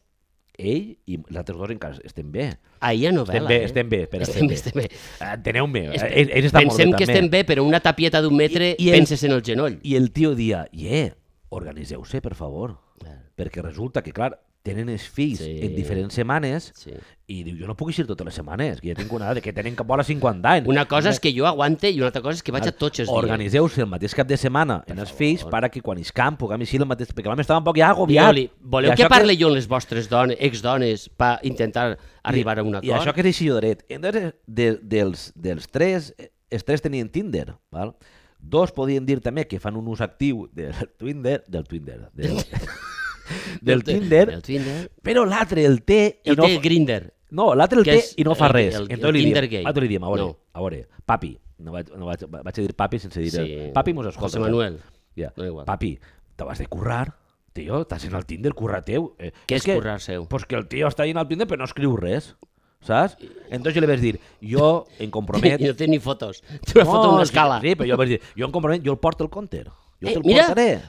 ell i els altres dos encara estem bé.
Ahir a novel·la,
Estem bé,
eh?
estem bé, espera,
estem,
estem bé. Ah,
estem bé.
Enteneu-me, eh?
Estem-
ells, ells estan
Pensem
molt bé
que
també.
estem bé, però una tapieta d'un metre
I- i
I,
el-
penses en el genoll.
I el tio dia, yeah, organitzeu-se, per favor. Perquè resulta que, clar, tenen els fills
Sí.
en diferents setmanes
Sí.
I diu, jo no puc eixir totes les setmanes, que ja tinc una edat de que tenen cap vora 50 anys.
Una cosa és que jo aguante i una altra cosa és que vaig a tots els dies.
Organitzeu-se el mateix cap de setmana en els fills para que quan iscam puguem eixir el mateix... Perquè l'home estava un poc ja agobiat.
Digue-li, voleu
I
que
això
parli jo amb les vostres dones, exdones, per intentar arribar a un
I això
acord?
que és així dret. Entonces, de, dels, dels tres, eh, els tres tenien Tinder, val? Dos podien dir també que fan un ús actiu del Tinder, del Tinder, del, del Tinder,
Del Tinder.
però l'altre el té i
El
no,
té el Grindr.
No, l'altre el
Que
té
és
i no fa
el-
res.
el- el
Entonces li diem-
Tinder gay.
l'altre li diem, a veure,
No.
a veure, papi, no vaig, no vaig, vaig a dir papi sense dir...
Sí.
Papi mos escolta.
José Manuel.
Ja.
No, igual.
Papi, te vas de currar, tio, estàs en el Tinder, curra teu. Eh,
Què és
que,
currar seu?
Pues que el tio està ahí en el Tinder però no escriu res, saps? Entonces jo li vaig dir, jo em compromet...
I no té ni fotos. Té una
No,
foto en una
sí,
escala.
Sí, però jo vaig dir, jo em compromet, jo el porto el compte. Jo
Eh,
te'l
mira.
portaré.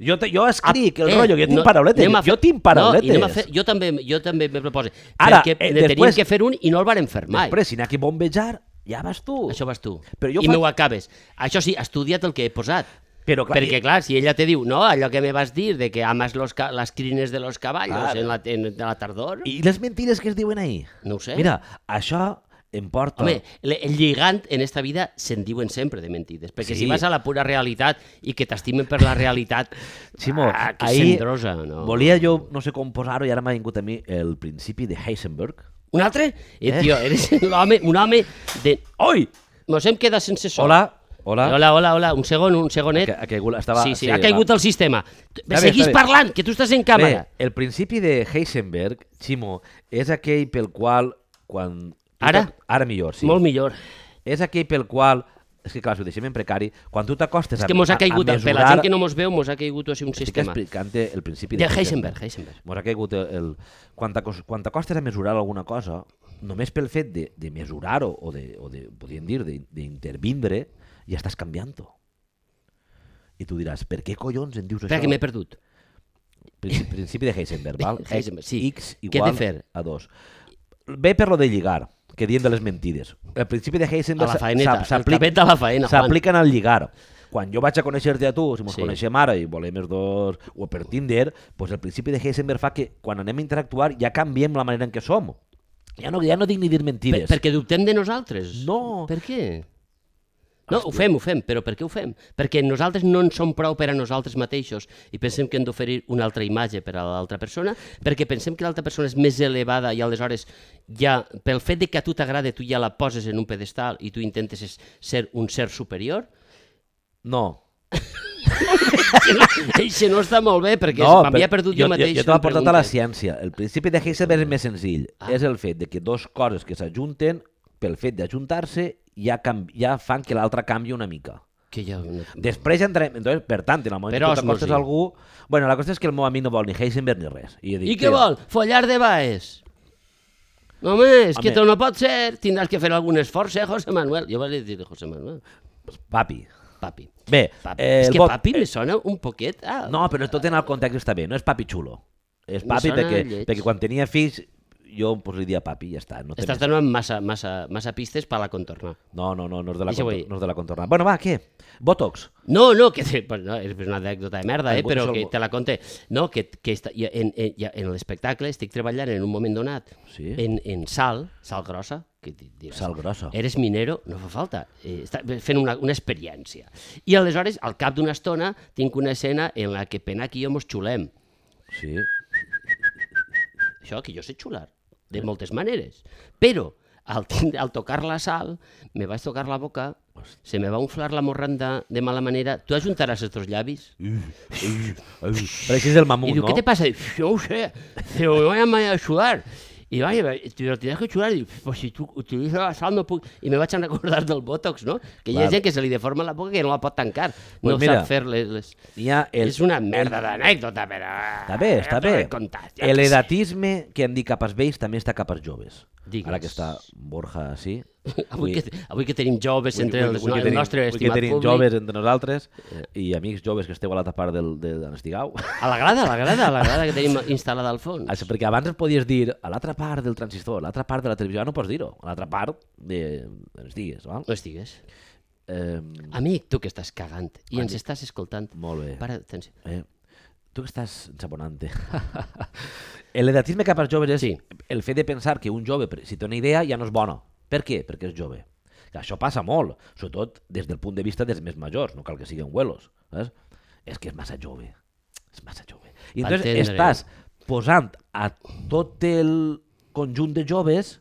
Jo, te, jo escric el
Eh,
rotllo, que jo tinc parauletes.
anem a
jo
fer-
tinc
No, i anem a
parauletes.
fer, jo també, jo també me proposo.
Ara,
perquè
eh,
ne teníem
després-
que fer un i no el varen fer mai.
Després, si n'hi ha que bombejar, ja vas tu.
Això vas tu.
Però jo
I
faig-
m'ho acabes. Això sí, estudia't el que he posat.
Però, clar,
Perquè, clar, si ella te diu, no, allò que me vas dir de que amas los ca las crines de los caballos
Clar.
en la, en, de la tardor...
I les mentides que es diuen ahir?
No ho sé.
Mira, això em porta...
Home, le- el lligant en esta vida se'n diuen sempre de mentides, perquè
Sí.
si vas a la pura realitat i que t'estimen per la realitat,
Ximo,
ah, que
ahir
cendrosa, no?
volia jo, no sé com posar-ho, i ara m'ha vingut a mi el principi de Heisenberg.
Un altre? Eh,
Eh?
tio, eres l'home, un home de...
Oi!
Mos hem quedat sense so.
Hola, hola.
Hola, hola, hola. Un segon, un segonet.
Que, ha caigut, estava,
sí, sí, ha caigut el sistema.
bé,
Seguís
està bé.
parlant, que tu estàs en
Bé,
càmera.
el principi de Heisenberg, Ximo, és aquell pel qual quan...
Ara?
Ara millor, sí.
Molt millor.
És aquell pel qual... És que clar, si ho deixem en precari, quan tu t'acostes
És que mos ha caigut,
a, a
per
mesurar...
la gent que no mos veu, mos ha caigut així un
Estic
sistema.
explicant el principi
De Heisenberg, Heisenberg.
Mos ha caigut el... el quan t'acos- quan t'acostes a mesurar alguna cosa, només pel fet de, de mesurar-ho o, de, o de, podríem dir, de- d'intervindre, ja estàs canviant-ho. I tu diràs, per què collons em dius
Espera,
això?
que m'he perdut.
Principi, principi de Heisenberg, val?
Heisenberg, sí.
X
Què he de
igual
fer?
a 2. Ve per lo de lligar, que dient de les mentides. El principi de Heisenberg
A la
s'a-
faeneta,
s'a-
el
s'aplica-
tapet de la faena, Juan.
s'aplica en el lligar. Quan jo vaig a conèixer-te a tu, si ens
Sí.
sí. coneixem ara i volem els dos, o per Tinder, doncs el principi de Heisenberg fa que quan anem a interactuar ja canviem la manera en què som. Ja no, ja no dic ni dir
Per,
mentides.
perquè dubtem de nosaltres.
No.
Per què? No, ho fem, ho fem, però per què ho fem? Perquè nosaltres no en som prou per a nosaltres mateixos i pensem que hem d'oferir una altra imatge per a l'altra persona, perquè pensem que l'altra persona és més elevada i aleshores ja, pel fet de que a tu t'agrada, tu ja la poses en un pedestal i tu intentes es- ser un ser superior,
No.
això no està molt bé, perquè no,
no,
m'havia perdut jo, mateix.
Jo, jo t'ho he
en
portat a la
preguntes.
ciència. El principi de Heisenberg és més senzill. Ah. És el fet de que dos coses que s'ajunten, pel fet d'ajuntar-se, ja, canvi, ja fan que l'altra canvi una mica.
Que ja... no-
Després ja entrarem... Entonces, per tant, en el moment
Per
que tu t'acostes
osmosi.
a algú... Bueno, la cosa és que el meu amic no vol ni Heisenberg ni res. I, jo dic,
I què
"Tira".
vol? Follar de baes? Home, és que
Home.
tu no pot ser, tindràs que fer algun esforç, eh, José Manuel? Jo vaig dir José Manuel,
Papi.
papi.
Bé,
papi.
eh,
és
el
que
vot-
papi me sona un poquet a...
No, però tot en el context està bé, no és papi xulo. És
Em
papi
sona
perquè,
lleig.
perquè quan tenia fills jo pues, li dia papi, ja està. No, tenia-
Estàs donant massa, massa, massa pistes per la contornar.
no, no, no, no és de la,
Deixa-ho
contor-
ahir.
no és de la contornada. Bueno, va, què? Botox.
No, no, que te, pues no, és una anècdota de merda,
Ai,
eh, però
això-
que te la conté. No, que, que està, ja en, en, ja en l'espectacle estic treballant en un moment donat
Sí.
en, en sal, sal grossa, que di- diràs,
Sal grossa.
eres minero, no fa falta, eh, està fent una, una experiència. I aleshores, al cap d'una estona, tinc una escena en la que Penac i jo mos xulem.
Sí.
Això, que jo sé xular, de moltes maneres. Però, al, tin- al tocar la sal, me vaig tocar la boca, se me va inflar la morranda de mala manera. Tu ajuntaràs els teus llavis?
Pareixes el mamut,
Y digo,
no?
¿qué te pasa? Y dice, yo no sé, pero me voy a mandar a sudar. Y vaya, te lo tienes que sudar. Y digo, pues si tú utilizas la sal, no puc... I me vaig a recordar del Botox, no? Que hi ha
Clar.
gent que se li deforma la boca que no la pot tancar.
Pues
no
mira,
sap fer les... les...
Hi ha el,
és una merda d'anècdota, però... ah,
Està bé, està bé.
El edat...
L'edatisme que hem dit cap als vells també està cap als joves.
Digues.
Ara que està Borja així.
Avui, que, avui que tenim joves entre els,
que
el
tenim-
nostre
avui que
estimat
tenim
públic... Eh.
joves entre nosaltres i amics joves que esteu a l'altra part del, de, de l'Estigau.
A la grada, a la grada, a la grada que tenim instal·lada al fons.
Això, perquè abans podies dir a l'altra part del transistor, a l'altra part de la televisió, ara no pots dir-ho, a l'altra part de... ens digues, val?
No estigues.
Eh,
Amic, tu que estàs cagant i ens estàs escoltant,
molt bé.
para atenció.
Eh? Tu que estàs ensabonant-te. L'edatisme cap als joves és sí.
Sí.
el fet de pensar que un jove, per- si té una idea, ja no és bona. Per què? Perquè és jove. Que això passa molt, sobretot des del punt de vista dels més majors, no cal que siguin huelos. Saps? És que és massa jove. És massa jove. I
Va
entonces
entendre-ho.
estàs posant a tot el conjunt de joves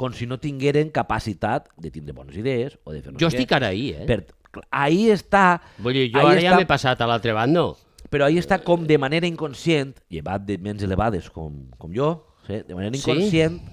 com si no tingueren capacitat de tindre bones idees o de fer no
Jo
sé què.
estic ara ahir, eh?
Per... Ahí està...
Vull dir, jo
ahí
ara ja
està-
m'he passat a l'altre bando.
però ahí està com de manera inconscient, llevat de ments elevades com, com jo, sí, de manera
Sí?
inconscient, sí?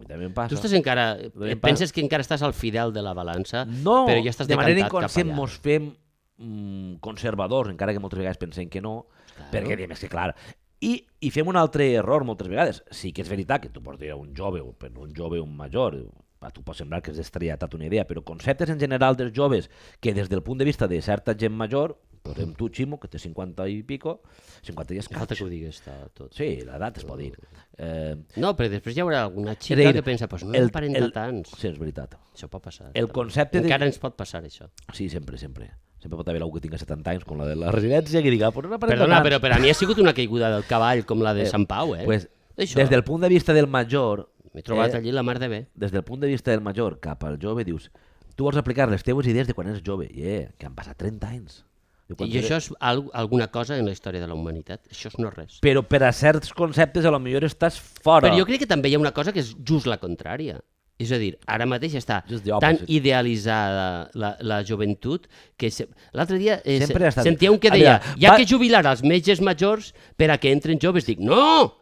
també em passa,
Tu estàs encara... eh,
Bé, pa-
Penses que encara estàs al fidel de la balança,
no,
però ja estàs
de manera
decantat cap
inconscient
allà.
mos fem mm, conservadors, encara que moltes vegades pensem que no,
Claro.
perquè diem, és que clar, i, i fem un altre error moltes vegades. Sí que és veritat que tu pots dir a un jove, o per un jove o un major, a tu pot semblar que has destrellat una idea, però conceptes en general dels joves que des del punt de vista de certa gent major, posem tu, Ximo, que té 50 i pico, 50 i
No Falta
escaig.
que ho diguis està tot.
Sí, l'edat es pot dir. Eh,
No, però després hi haurà alguna
És a
xica
dir,
que pensa, pues no el, aparenta el, tants.
Sí, és veritat.
Això pot passar.
el
també.
concepte de-
Encara ens pot passar, això.
Sí, sempre, sempre. Sempre pot haver algú que tingui 70 anys com la de la residència que diga, però no aparenta
Perdona,
tant".
però per a mi ha sigut una caiguda del cavall com la de Sant Pau, eh?
Pues,
Això.
des del punt de vista del major,
M'he trobat
eh,
allí la mar de bé.
des del punt de vista del major cap al jove, dius, tu vols aplicar les teues idees de quan eres jove, yeah, que han passat 30 anys. Diu, quan
I
era-
això és al- alguna cosa en la història de la humanitat. Això és no res.
Però per a certs conceptes a lo millor estàs fora.
Però jo crec que també hi ha una cosa que és just la contrària. És a dir, ara mateix està
Just the
tan
opposite.
idealitzada la, la joventut que se... l'altre dia eh, se-
Sempre ha estat-
sentia un que
A
deia
veure,
hi ha
va-
que jubilar els metges majors per a que entren joves. Dic, no!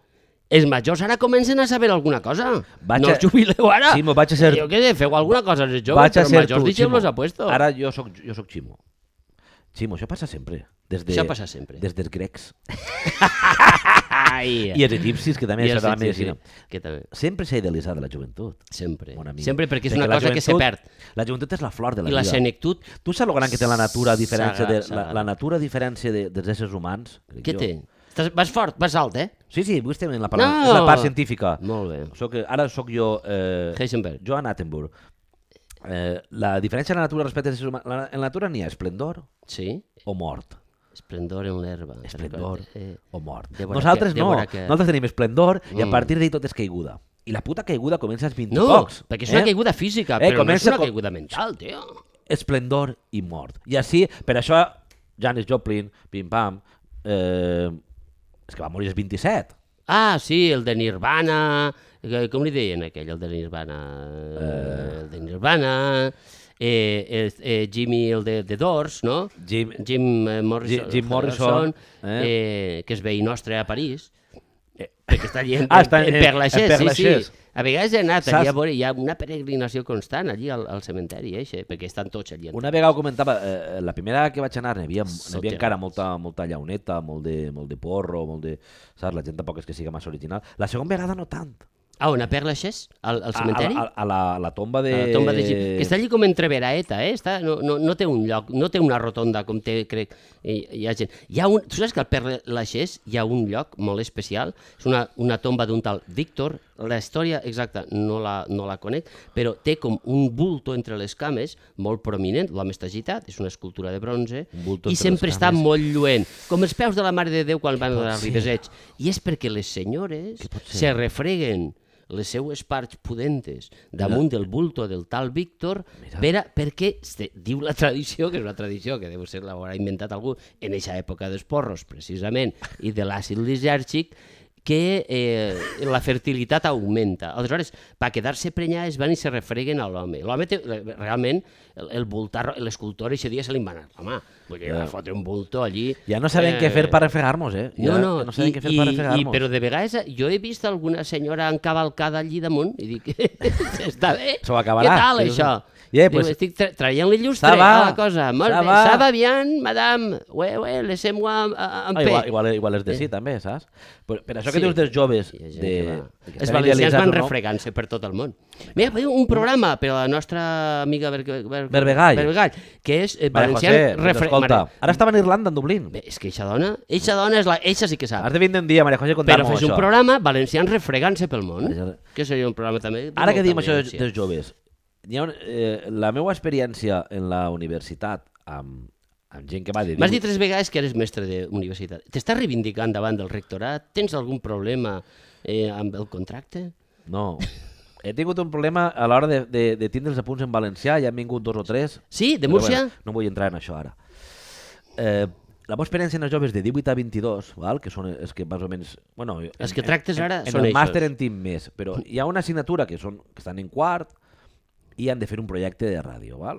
Els majors ara comencen a saber alguna cosa.
Vaig
no
a-
els jubileu ara.
Ximo, vaig a ser-
Jo què sé, feu alguna cosa els joves,
Vaig a
però els
ser
majors
tu, Ximo.
deixeu-los a puesto.
Ara jo soc, jo soc Ximo. Ximo, això passa sempre. Des de,
Això passa sempre.
Des dels grecs.
Ai,
I els egipcis, que també
I
és
els
la
egipcis,
medicina.
sí, que també.
Sempre s'ha idealitzat la joventut.
Sempre.
Bon amic.
Sempre perquè és
Perquè
una
la
cosa que se
joventut-
perd.
La joventut és la flor de la
I la
vida.
senectut,
Tu saps el gran que té la natura a diferència,
Sagrada,
de, la,
sagrada.
la natura a diferència de, dels éssers humans? crec
què
jo.
té? Estàs, vas fort, vas alt, eh?
Sí, sí, avui estem en la part,
No!
és la part científica.
Molt bé.
Soc, ara sóc jo... Eh,
Heisenberg.
Joan Attenborough. Eh, la diferència de la natura respecte als éssers humans... La, en la natura n'hi ha esplendor
Sí,
o mort.
esplendor en l'herba.
Esplendor
Eh,
o mort.
Débora
Nosaltres
que-
no.
Débora que-
Nosaltres tenim esplendor i a
Mm.
partir d'ahir tot és caiguda. I la puta caiguda comença als 20
no,
pocs.
perquè és una
eh?
caiguda física,
Eh,
però no és
comença
una
com-
caiguda mental, tio.
esplendor i mort. I així, per això, Janis Joplin, pim-pam, eh, és que va morir als 27.
Ah, sí, el de Nirvana... eh, Com li deien aquell, el de Nirvana? Eh... El de Nirvana... Eh, eh, eh, Jimmy, el de, de Doors, no?
Jim-
Jim eh, Morrison,
Jim- Jim Morrison,
eh? eh? que és veí nostre a París, eh, perquè està allí en,
Ah, està en-
en, Perlaixés,
en Perlaixés.
sí, sí. A vegades he anat
Saps-
allà a veure, hi ha una peregrinació constant allí al, al cementeri, eixe, perquè estan tots allí.
Una vegada ho comentava, eh, la primera vegada que vaig anar n'hi havia, n'hi havia
Soterrats.
encara molta, molta llauneta, molt de, molt de porro, molt de... Saps? La gent tampoc és que siga massa original. La segona vegada no tant.
Ah, on a Perlaixés? Al, al cementeri?
A, a, a, la, a la tomba de...
A la tomba de Gip. Que està allí com entre Veraeta, eh? Està, no, no, no té un lloc, no té una rotonda com té, crec, hi, hi ha gent. Hi ha un, tu saps que al Perle Laixés hi ha un lloc molt especial, és una, una tomba d'un tal Víctor, la història exacta no la, no la conec, però té com un bulto entre les cames, molt prominent, l'home està agitat, és una escultura de bronze,
Un bulto
i
entre les
sempre està
cames.
molt lluent, com els peus de la Mare de Déu quan van
pot
a la
ser?
Ribeseig. I és perquè les senyores se refreguen les seues parts pudentes damunt del bulto del tal Víctor
Mira.
Vera, perquè se, diu la tradició, que és una tradició que deu ser l'haurà inventat algú en eixa època dels porros, precisament, i de l'àcid lisèrgic, que eh, la fertilitat augmenta. Aleshores, per quedar-se prenyà es van i se refreguen a l'home. L'home té, eh, realment, el, el voltar, l'escultor, aquest dia se li va anar la mà. Vull dir, va fotre un bulto allí...
Ja no sabem eh... què fer per refregar-nos, eh? Ja,
No, no,
no sabem
i,
què fer
i,
per
i,
refregar-nos.
però de vegades eh, jo he vist alguna senyora encavalcada allí damunt i dic, està bé,
Se ho acabarà.
què tal
Sí,
això?
sí. Ja,
Diu,
pues-
estic tra traient-li llustre
Ça va,
a la cosa. Molt
ça
bé,
va.
ça va bien, madame. Ouais, ouais, laissez-moi en- en
Ah,
paix.
igual, igual, igual és de sí, també, saps? Per, per això que
eh? Sí.
dius dels joves...
Hi ha gent
de...
que va.
que
Els
estan
valencians
idealitzats
van
o no,
refregant-se per tot el món. Mira, podeu un programa per a la nostra amiga Ber Ber Ber
Bervegall.
Bervegall, que és eh,
Maria
valencians...
José, doncs
refre-
escolta,
Mare-
ara estava en Irlanda, en Dublín.
Bé, és que eixa dona, eixa dona, és la... eixa sí que sap.
Has de vindre un dia, Maria José, a
Però
contar-nos
fes
això.
un programa valencians refregant-se pel món,
Valencians-
que seria un programa també... de
Ara que
molta
diem això dels,
audiència.
dels joves, hi ha un, eh, la meva experiència en la universitat amb, amb gent que va de...
M'has dit tres vegades que eres mestre d'universitat. T'estàs reivindicant davant del rectorat? Tens algun problema eh, amb el contracte?
No, he tingut un problema a l'hora de, de, de tindre els apunts en valencià, ja han vingut dos o tres.
Sí, de
Però,
Múrcia?
Bueno, no vull entrar en això ara. Eh, la meva experiència en els joves de 18 a 22, val? que són els que més o menys... Bueno, en-
Els que tractes ara
en, en,
són
en el màster
eixos.
en tinc més, però hi ha una assignatura que, són, que estan en quart i han de fer un projecte de ràdio. Val?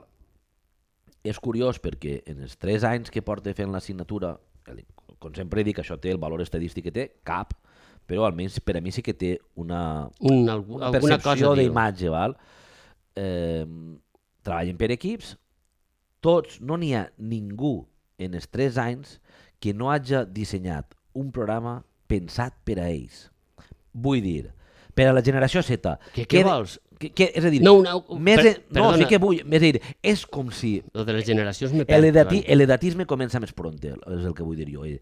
És curiós perquè en els 3 anys que porta fent l'assignatura, el- com sempre dic, això té el valor estadístic que té, cap, però almenys per a mi sí que té una,
Un, algú,
una
alguna
percepció
cosa diu.
d'imatge, val? Eh, treballen per equips, tots, no n'hi ha ningú en els 3 anys que no hagi dissenyat un programa pensat per a ells. Vull dir, per a la generació Z.
Que- què
que-
vols?
Que, que, és a dir,
No, una-
més
per-
en- no, sí
perdona.
que vull, és a dir, és com si
Lo de les generacions me perd.
L'edati-
davant.
L'edatisme comença més pronte, és el que vull dir jo. Eh,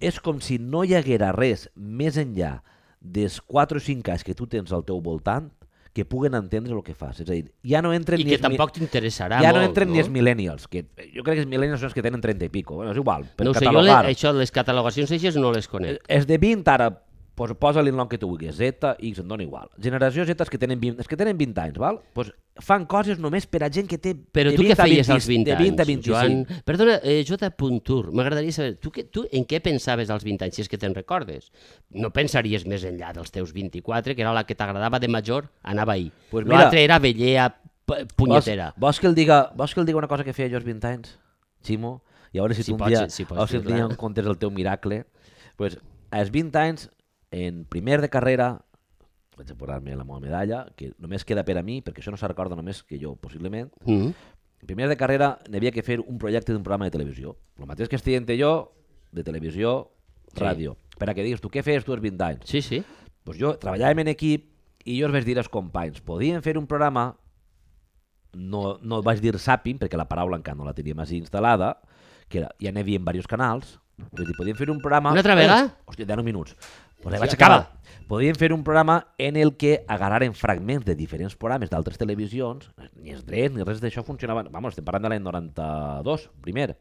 És com si no hi haguera res més enllà dels 4 o 5 anys que tu tens al teu voltant que puguen entendre el que fas. És a dir, ja no entren
I
ni
que
els mi-
tampoc t'interessarà
ja
molt,
no entren ni els millennials, que jo crec que els millennials són els que tenen 30 i pico, bueno, és igual, per
No ho sé, jo le,
catalogar. Eh,
això, les catalogacions eixes no les conec.
És de 20 ara, pues, posa-li el nom que tu vulguis, Z, X, em dona igual. Generació Z és que tenen 20, és que tenen 20 anys, val? Pues fan coses només per a gent que té
Però
de
tu què
20 a
feies
20,
als 20
de 20 a
anys,
25.
Joan? Perdona, eh, J. Puntur, m'agradaria saber, tu, què, tu en què pensaves als 20 anys, si és que te'n recordes? No pensaries més enllà dels teus 24, que era la que t'agradava de major, anava ahir.
Pues
Pues
mira-
L'altre era vellea, p- punyetera.
Vols, vols, que el diga, vols que el diga una cosa que feia jo als 20 anys, Ximo? I a veure si,
Si
tu un
pots,
dia,
si pots
a veure si un
dir-la.
dia em contes el teu miracle. Pues, als 20 anys, en primer de carrera, vaig a posar-me la meva medalla, que només queda per a mi, perquè això no se recorda només que jo, possiblement.
Mm.
En primer de carrera n'havia que fer un projecte d'un programa de televisió. El mateix que estic entre jo, de televisió,
Sí.
ràdio. Per a que digues tu què feies tu als 20 anys
Sí, sí.
pues jo treballàvem en equip i jo els vaig dir als companys, podien fer un programa, no, no vaig dir Sapin, perquè la paraula encara no la teníem així instal·lada, que era, ja n'hi havia en diversos canals, vull dir, podien fer un programa...
Una altra vegada?
Eh, Hòstia, 10 minuts. Pues
Sí,
ja vaig
acaba.
acabar. Podien fer un programa en el que agarraren fragments de diferents programes d'altres televisions, ni els drets ni res d'això funcionaven. Vamos, estem parlant de l'any 92, primer,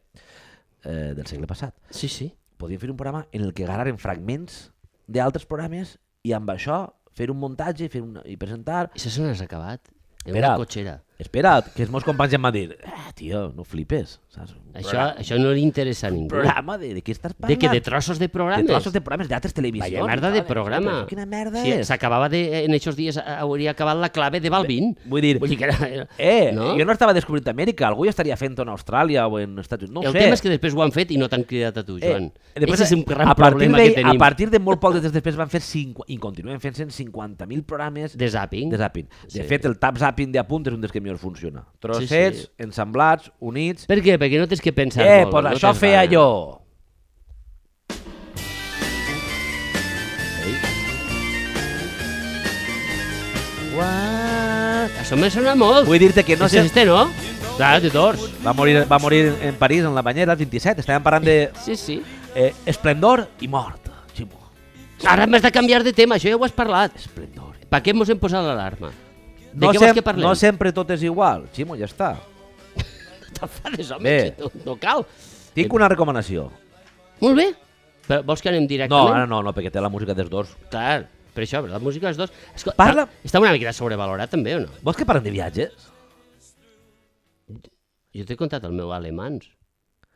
eh, del segle passat
Sí, sí.
podien fer un programa en el que agarraren fragments d'altres programes i amb això fer un muntatge i, fer una, i presentar...
I això no has acabat? En
Espera.
una cotxera.
Espera't, que els meus companys em van dir eh, tio, no flipes, saps? Un
Això, això no li interessa a ningú.
programa de, de què estàs
De
parlant?
que de trossos de
de
programes.
trossos de programes d'altres televisions.
Vaya merda de programa.
Però Quina merda
sí,
és?
S'acabava de... eh, En aquests dies hauria acabat la clave de Balvin.
Vull dir,
Vull dir que era... era-
eh,
no?
jo no estava descobrint Amèrica, algú ja estaria fent en Austràlia o en Estats Units, no ho
el
sé.
tema és que després ho han fet i no t'han cridat a tu, Joan. Eh,
després,
Aquest és un gran
a partir
problema
d'ahir-
que tenim
A partir de molt poc de temps després van fer 5, i continuen fent 150.000 programes
de zapping.
de zapping. De
Sí.
fet, el tap zapping de apunt és un dels que millor funciona. Trossets,
sí.
ensamblats, units...
Per què? Perquè no tens que pensar
eh,
molt.
pues
no
això
tens
feia
gana.
jo! Ei.
Això me sona molt.
Vull dir-te que no
Ese
sé...
és este, no? Clar, de dors.
Va morir, va morir en París, en la banyera, el 27. Estàvem parlant de
Sí, sí.
eh, esplendor i mort, Ximo.
Ara m'has de canviar de tema, això ja ho has parlat.
Esplendor.
Per què mos hem posat l'alarma? De
No,
què vols
sem
que parlem?
no sempre tot és igual, Ximo, ja està.
T'enfades, home,
Bé.
que no, no cal.
Tinc una recomanació.
Molt bé. Però vols que anem
No,
directament?
ara no, no, perquè té la música dels dos.
Clar, per això, la música dels dos... Escolta,
Parla-
Està una miqueta sobrevalorat, també, o no?
Vols que parlem de viatges?
Jo t'he contat el meu alemans,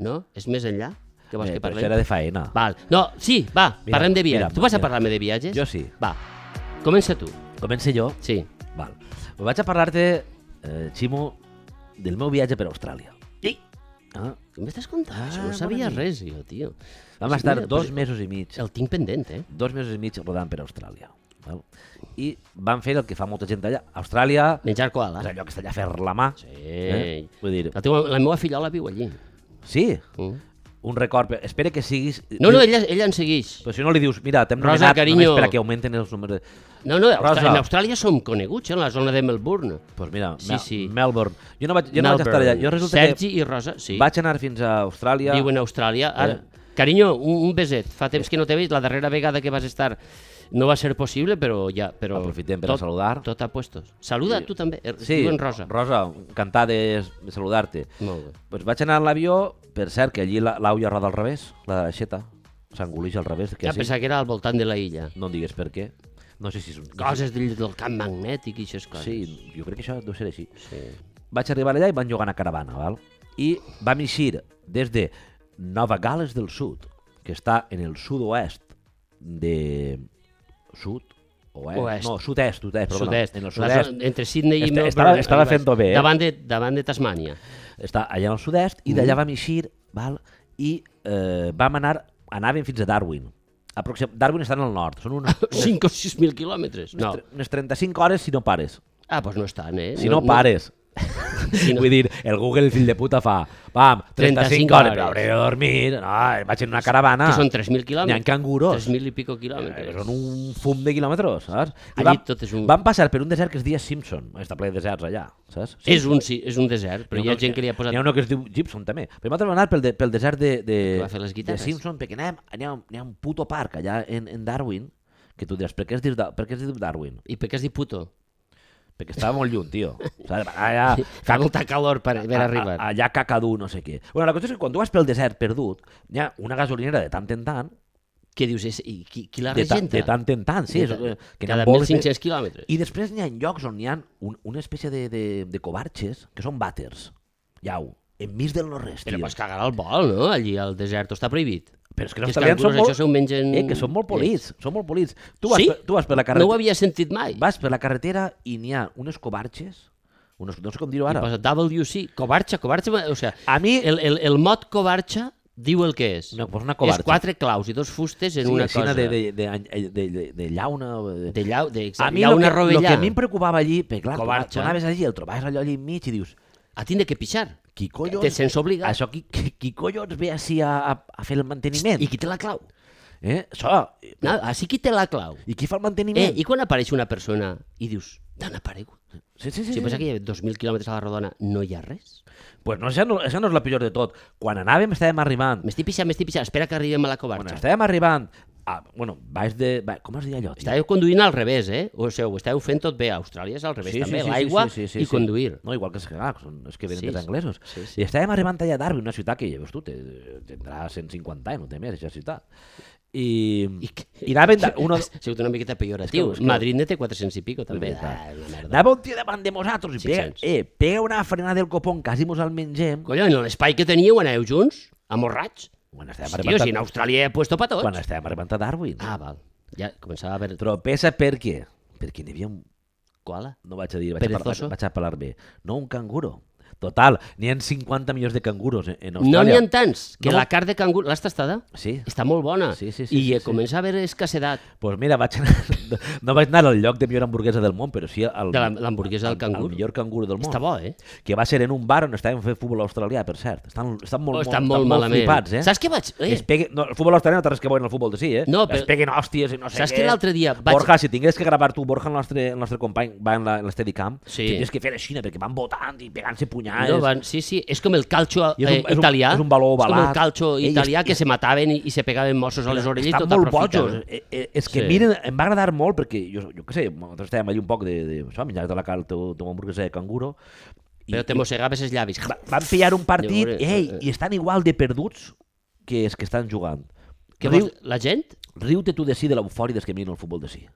no? És més enllà que vols
Bé,
que
Eh, però
parlem?
això era de faena.
Val. No, sí, va,
Mira,
parlem de viatges.
mira,
tu vas a
mira.
parlar-me de viatges?
Jo sí.
Va, comença tu,
Comença jo.
sí.
Val. Vaig a parlar-te, eh, Ximo, del meu viatge per Austràlia.
Sí.
Ah,
Què m'estàs contant?
Ah,
Això no
bona
sabia
nit.
res, jo, tio.
vam
Sí,
estar
mira,
dos
però-
mesos i mig,
El tinc pendent, eh?
dos mesos i mig rodant per Austràlia. Val? I vam fer el que fa molta gent allà. Austràlia
Menjar koala.
és allò que està allà a fer la mà.
Sí.
Eh? Vull dir,
La, teua, la meva fillola viu allí.
sí,
Mm.
un record. però Espera que siguis...
No, no, ella, ella en segueix.
Però si no li dius, mira, t'hem
Rosa,
nomenat
carinyo.
només perquè augmenten els números... de-
No, no, a Austra-
Rosa.
en Austràlia som coneguts, eh, en la zona de Melbourne.
Pues mira,
Sí,
Mel
sí.
Melbourne. Jo no vaig, jo no vaig estar allà. Jo resulta
Sergi i Rosa, sí,
que vaig anar fins a Eh. Austràlia.
viuen a Austràlia. Ara, carinyo, un, un beset. Fa temps que no t'he vist. La darrera vegada que vas estar no va ser possible, però ja... Però
Aprofitem per a saludar.
Tot a puestos. Saluda tu també. Er-
Sí,
Diuen Rosa.
Rosa, encantat de, de saludar-te.
Molt bé.
Pues vaig anar en l'avió, per cert, que allí la- l'au ja roda al revés, la d'aixeta, s'engoleix al revés, que
Ja
sí.
pensava que era al voltant de la illa.
No em digues per què. No sé si és un...
Coses del, del camp magnètic i aquestes coses.
Sí, jo crec que això deu ser així.
sí.
Vaig arribar allà i van llogar una caravana, val? I vam eixir des de Nova Gales del Sud, que està en el sud-oest de... Sud? Oest?
Oest.
No, sud-est, sud-est, perdona.
Sud-est.
En el
La
sud-est.
zona Entre Sydney i
Esta-
Melbourne.
estava- estava
arribes.
fent-ho bé, eh?
Davant de, davant de Tasmània.
està allà al sud-est, i d'allà
Mm-hmm.
vam eixir, val? i eh, vam anar, anàvem fins a Darwin. Aproxim... Darwin està en el nord, són unes,
5 o 6 mil quilòmetres.
unes,
No.
tre- unes 35 hores si no pares.
Ah, doncs no és tant, eh?
Si no, pares.
Si no-
Vull dir, el Google, fill de puta, fa pam, 35,
35
hores,
hores.
però hauré de dormir, no, vaig en una caravana.
Que són 3.000 quilòmetres.
N'hi Ah, ha canguros.
3.000 i pico
Eh,
quilòmetres.
Són un fum de quilòmetres, saps? I
Allí tot és un-
Van passar per un desert que es deia Simpson. Està ple de deserts allà, saps?
És un, sí, és un desert, però
N'hi
hi ha
un
gent que li ha posat...
N'hi ha una eh? que es diu Gibson, també. Però nosaltres vam anar pel, de, pel desert de, de,
Que va fer les
de
guitarres.
Simpson, perquè anem, anem, anem a un puto parc allà en, en Darwin, que tu diràs, per què es diu, Da- per què es diu Darwin?
I per què es diu puto?
Perquè estava molt lluny, tio. Saps? Allà,
Fa molta calor per
Ah,
haver arribat.
a- allà cacadú, no sé què. Bueno, la cosa és que quan tu vas pel desert perdut, hi ha una gasolinera de tant en tant,
Què dius? És, I qui, qui la
de, ta,
regenta?
de tant en tant, sí.
De
és, eh,
ta-
que n'hi ha
Cada
boles de-
1.500 quilòmetres.
I després n'hi ha llocs on hi ha un, una espècie de, de, de covarxes que són vàters. Iau, enmig del no-res,
Però
tio.
pots cagar al vol, no? Allí al desert, està prohibit.
Però és que
Que
els
els
italians són
canguros,
molt...
això se ho mengen...
Eh, que són molt polits, són molt polits. Tu vas,
Mm, Sí?
per, tu vas per la
No ho
carretera,
havia sentit mai.
vas per la carretera i n'hi ha unes covarxes, unes, no sé com dir-ho
I
ara.
posa WC, covarxa, covarxa, o sigui,
A mi,
el, el, el mot covarxa diu el que és.
No, pues una covarxa.
És quatre claus i dos fustes en
sí,
una
aixina
cosa.
de, de, de, de, de, de, de llauna... o De...
de, llau, de
A mi
llauna eh?
lo que, lo que
rovellà.
a mi em preocupava allí, perquè clar, tu
Covarxa.
anaves allí, el trobaves allò allí enmig i dius,
A tindre que pixar.
qui collons...
Te sents obligat.
Això, qui, qui, qui collons ve així a, a, a fer el manteniment?
I qui té la clau?
Eh? Això,
No, així qui té la clau?
I qui fa el
Eh,
manteniment?
I quan apareix una persona i dius, t'han aparegut?
Sí, sí, sí.
Si
sí,
pensa
sí.
que hi ha 2.000 quilòmetres a la rodona, no hi ha res.
Pues no, això, no, això no és la pitjor de tot. Quan anàvem estàvem arribant.
M'estic pixant, m'estic pixant, espera que arribem a la
Quan
covarxa.
estàvem arribant... A, bueno, baix de... Va, com es deia allò? tio?
Estàveu conduint al revés, eh? O sigui, ho estàveu fent tot bé. A Austràlia és al revés, també. L'aigua i conduir.
No, igual que els cagacs, són els que venen
Sí,
sí, dels
sí.
anglesos.
Sí, sí.
I estàvem arribant allà a Darwin, una ciutat que, ja veus tu, té, tindrà 150 anys, no té més, aquesta ciutat. I,
I
I,
que-
i anaven... de- Uno,
Ha sigut una miqueta pejoratiu.
És que- és que-
Madrid ne té 400 i pico, també.
veritat.
Ah, una merda.
anava un tio davant de nosaltres i pega,
600.
eh, pega una frenada del copon, quasi mos el mengem.
Collons, l'espai que teníeu aneu junts? A morrats?
Quan estàvem,
Tio, si en
arribant,
Austràlia he puesto pa
a,
tots.
quan estàvem arribant a Darwin.
Ah, val. Ja començava a haver
Tropessa per què? Perquè n'hi havia un...
koala.
No vaig a dir, vaig a, parlar,
Perezoso.
vaig a parlar bé. No un canguro, Total, n'hi ha 50 milions de canguros en, en
No
Austràlia.
n'hi ha tants, que
No.
la carn de cangur, l'has tastada?
Sí.
Està molt bona.
Sí, sí, sí,
I
sí,
eh,
sí.
comença a haver escassedat.
Pues mira, vaig anar, no vaig anar al lloc de millor hamburguesa del món, però sí al,
De la- l'hamburguesa del
al-
cangur.
Al millor cangur del món.
Està bo, eh?
Que va ser en un bar on estaven fent futbol australià, per cert. Estan, estan molt,
Oh, estan molt malament.
flipats, eh?
Saps què vaig- eh?
Es peguen, no, el futbol australià no té res que veure en el futbol de sí, eh?
No,
Es
però-
peguen hòsties i no sé
Saps
què.
que l'altre dia vaig-
Borja, si tingués que gravar tu, Borja, el nostre, el nostre company, va en la- en l'Steadicam,
Sí.
tindries que fer així, perquè van votant i pegant-se punyades.
No, van, sí, sí, és com el calcio
ah, I és un-
eh,
és un-
italià.
és un valor
És com el
ovalat.
calcio
Ei,
italià
és-
que se mataven i, i se pegaven mossos a les orelles i
Estan
tot
molt
aprofiten.
bojos. Eh, eh, és que
Sí.
sí. miren, em va agradar molt perquè, jo, jo què sé, nosaltres estàvem allà un poc de, de, això, menjar de la carn teu, teu hamburguesa de canguro. I,
Però te
i
mossegaves els llavis.
va- van pillar un partit
Llavors,
ei,
eh, eh.
i estan igual de perduts que els que estan jugant.
Que
Riu,
vols, la gent?
riu-te tu de si de l'eufòria dels que miren el futbol de si.